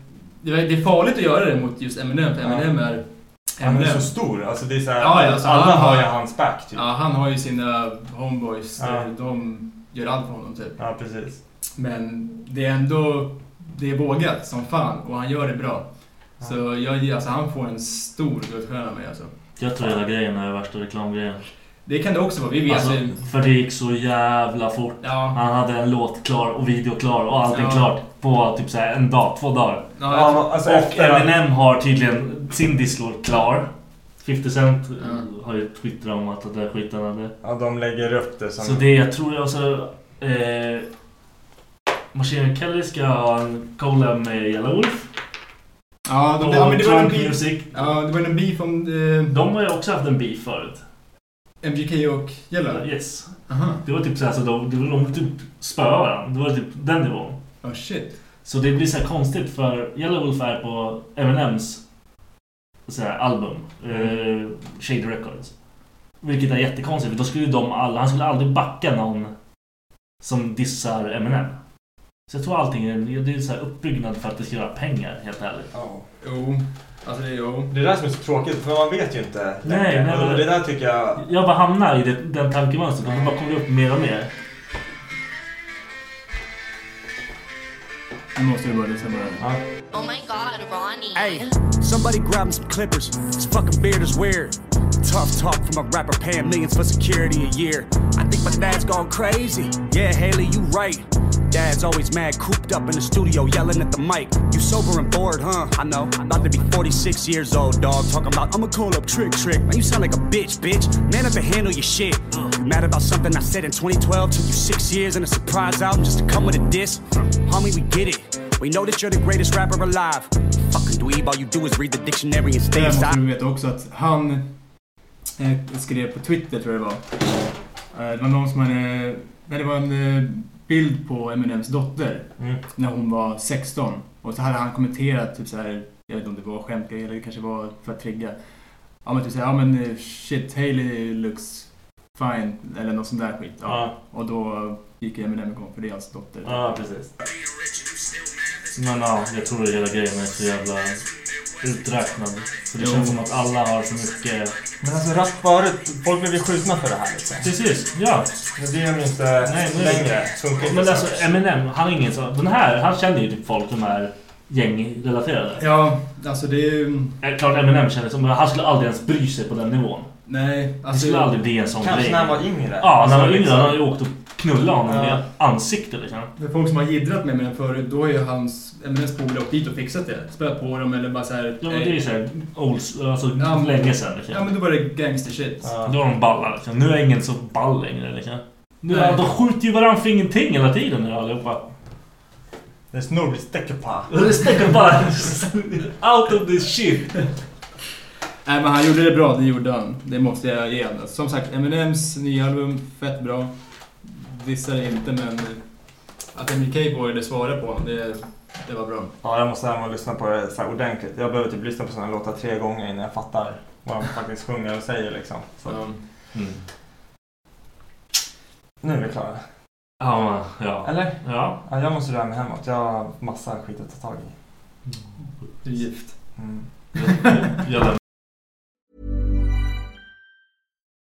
Det är det är farligt att göra det mot just Eminem, för
Ja.
Eminem är...
Han är
Eminem.
så stor. Alltså det är så här,
Ja, ja, alltså,
alla
han-
har ju hans back typ.
Ja, han har ju sina homeboys.
Ja.
där De gör allt för honom typ.
Ja, precis.
Men det är ändå... Det är vågat som fan och han gör det bra. Så jag ger- alltså han får en stor guldstjärna av mig alltså.
Jag tror hela grejen är värsta reklamgrejen.
Det kan det också vara, vi vet
Alltså,
ju.
för det gick så jävla fort.
Ja.
Han hade en låt klar och video klar och allting
Ja.
klart på typ så här en dag, två dagar.
Ja, jag tror-
alltså,
och
efter-
Eminem har tydligen sin disslåt klar. 50 Cent
Ja.
har ju twittrat om att det där skiten hade.
Ja, de lägger upp det som...
Så det jag tror jag alltså... Eh, Machine Gun Kelly ska ha en collab med Yellow Wolf.
Ja, de,
Och
ja, men det var en
Trunk
beef.
Music.
Ja, det var en beef om eh,
De har ju också haft en beef förut.
MGK och Yellow.
Yes.
Aha.
Det var typ såhär, så de, de, de typ spöade varandra. Det var typ den nivån.
Oh shit.
Så det blir så här konstigt för Yellow Wolf är på Eminems så här album, eh, Shade Records. Vilket är jättekonstigt för då skulle ju de alla, han skulle aldrig backa någon som dissar Eminem. Så jag tror allting är, det är så här uppbyggnad för att det ska göra pengar helt ärligt.
Ja.
Jo. Alltså det är jo.
Det är det där som är så tråkigt, för man vet ju inte.
Nej,
längre.
nej,
Och
men-
det där tycker jag...
Jag bara hamnar i det, den tankemönstret och då bara kommer det upp mer och mer.
Nu måste vi börja lyssna på den.
Ja.
Oh my god, Ronnie.
Hey, somebody grab him some clippers. His fucking beard is weird.
tough talk from a rapper paying millions for security a year. I think my dad's gone crazy. Yeah, Haley, you right. Dad's always mad, cooped up in the studio, yelling at the mic. You sober and bored, huh? I know. I'm about to be 46 years old, dog. Talking about, I'ma call up Trick Trick. Man, you sound like a bitch, bitch. Man up and handle your shit. You mad about something I said in 2012, took you six years and a surprise album just to come with a diss. Homie, we get it. We know that you're the greatest rapper alive. Fucking dweeb, all you do is read the dictionary and stay
Där
inside.
måste du veta också att han eh, skrev på Twitter, tror jag det var. Eh, Det var någon som hade... Nej, det var en eh, bild på Eminems dotter
Mm.
när hon var 16. Och så hade han kommenterat typ så här, jag vet inte om det var skämt eller det kanske var för att trigga. Ja men typ såhär, ja men eh, shit, Hailey looks fine. Eller något sånt där skit. Ja. Och då gick Eminem igång för det är hans dotter.
Ja, precis. Men ja, jag tror att hela grejen är så jävla uträknad. För det
Jo.
känns som att alla har så mycket...
Men alltså rap förut, folk blev ju skjutna för det här liksom.
Precis, ja.
Men det är de inte
nu-
längre. Funkar inte
Men
så.
alltså Eminem, han är ingen sån... Den här, han känner ju typ folk som är gängrelaterade.
Ja, alltså det är ju...
Eh, Klart Eminem känner som... Han skulle aldrig ens bry sig på den nivån.
Nej, alltså-
det skulle aldrig bli en sån
Kanske
grej.
när han var yngre.
Ja, när han var
Alltså,
yngre.
liksom-
Han hade ju åkt och knullat honom
Ja.
i ansiktet liksom.
För folk som har jiddrat med Eminem förut, då har ju hans Eminems polare åkt dit och fixat det. Spöat på dem eller bara såhär...
Ja, men det är ju såhär old... Alltså
Ja, men-
länge sedan liksom.
Ja men då var det gangster shit.
Då var de balla liksom. Nu är ingen så ball längre liksom. Nu,
Nej.
de skjuter ju varandra för ingenting hela tiden nu allihopa.
Det snor blir stäckepah.
Respekt bara... Out of this shit!
Nej men han gjorde det bra, det gjorde han. Det måste jag ge honom. Som sagt, Eminems nya album, fett bra. Dissar inte men... Att MJK vågade svara på honom, det, det var bra.
Ja, jag måste hem och lyssna på det så här ordentligt. Jag behöver typ lyssna på sådana låtar tre gånger innan jag fattar vad de faktiskt sjunger och säger liksom. Så.
Ja.
Mm.
Nu är vi klara.
Ja, men, ja.
Eller?
Ja.
Ja, jag måste röra mig hemåt. Jag har massa skit att ta tag i.
Du är gift.
Mm.
Jag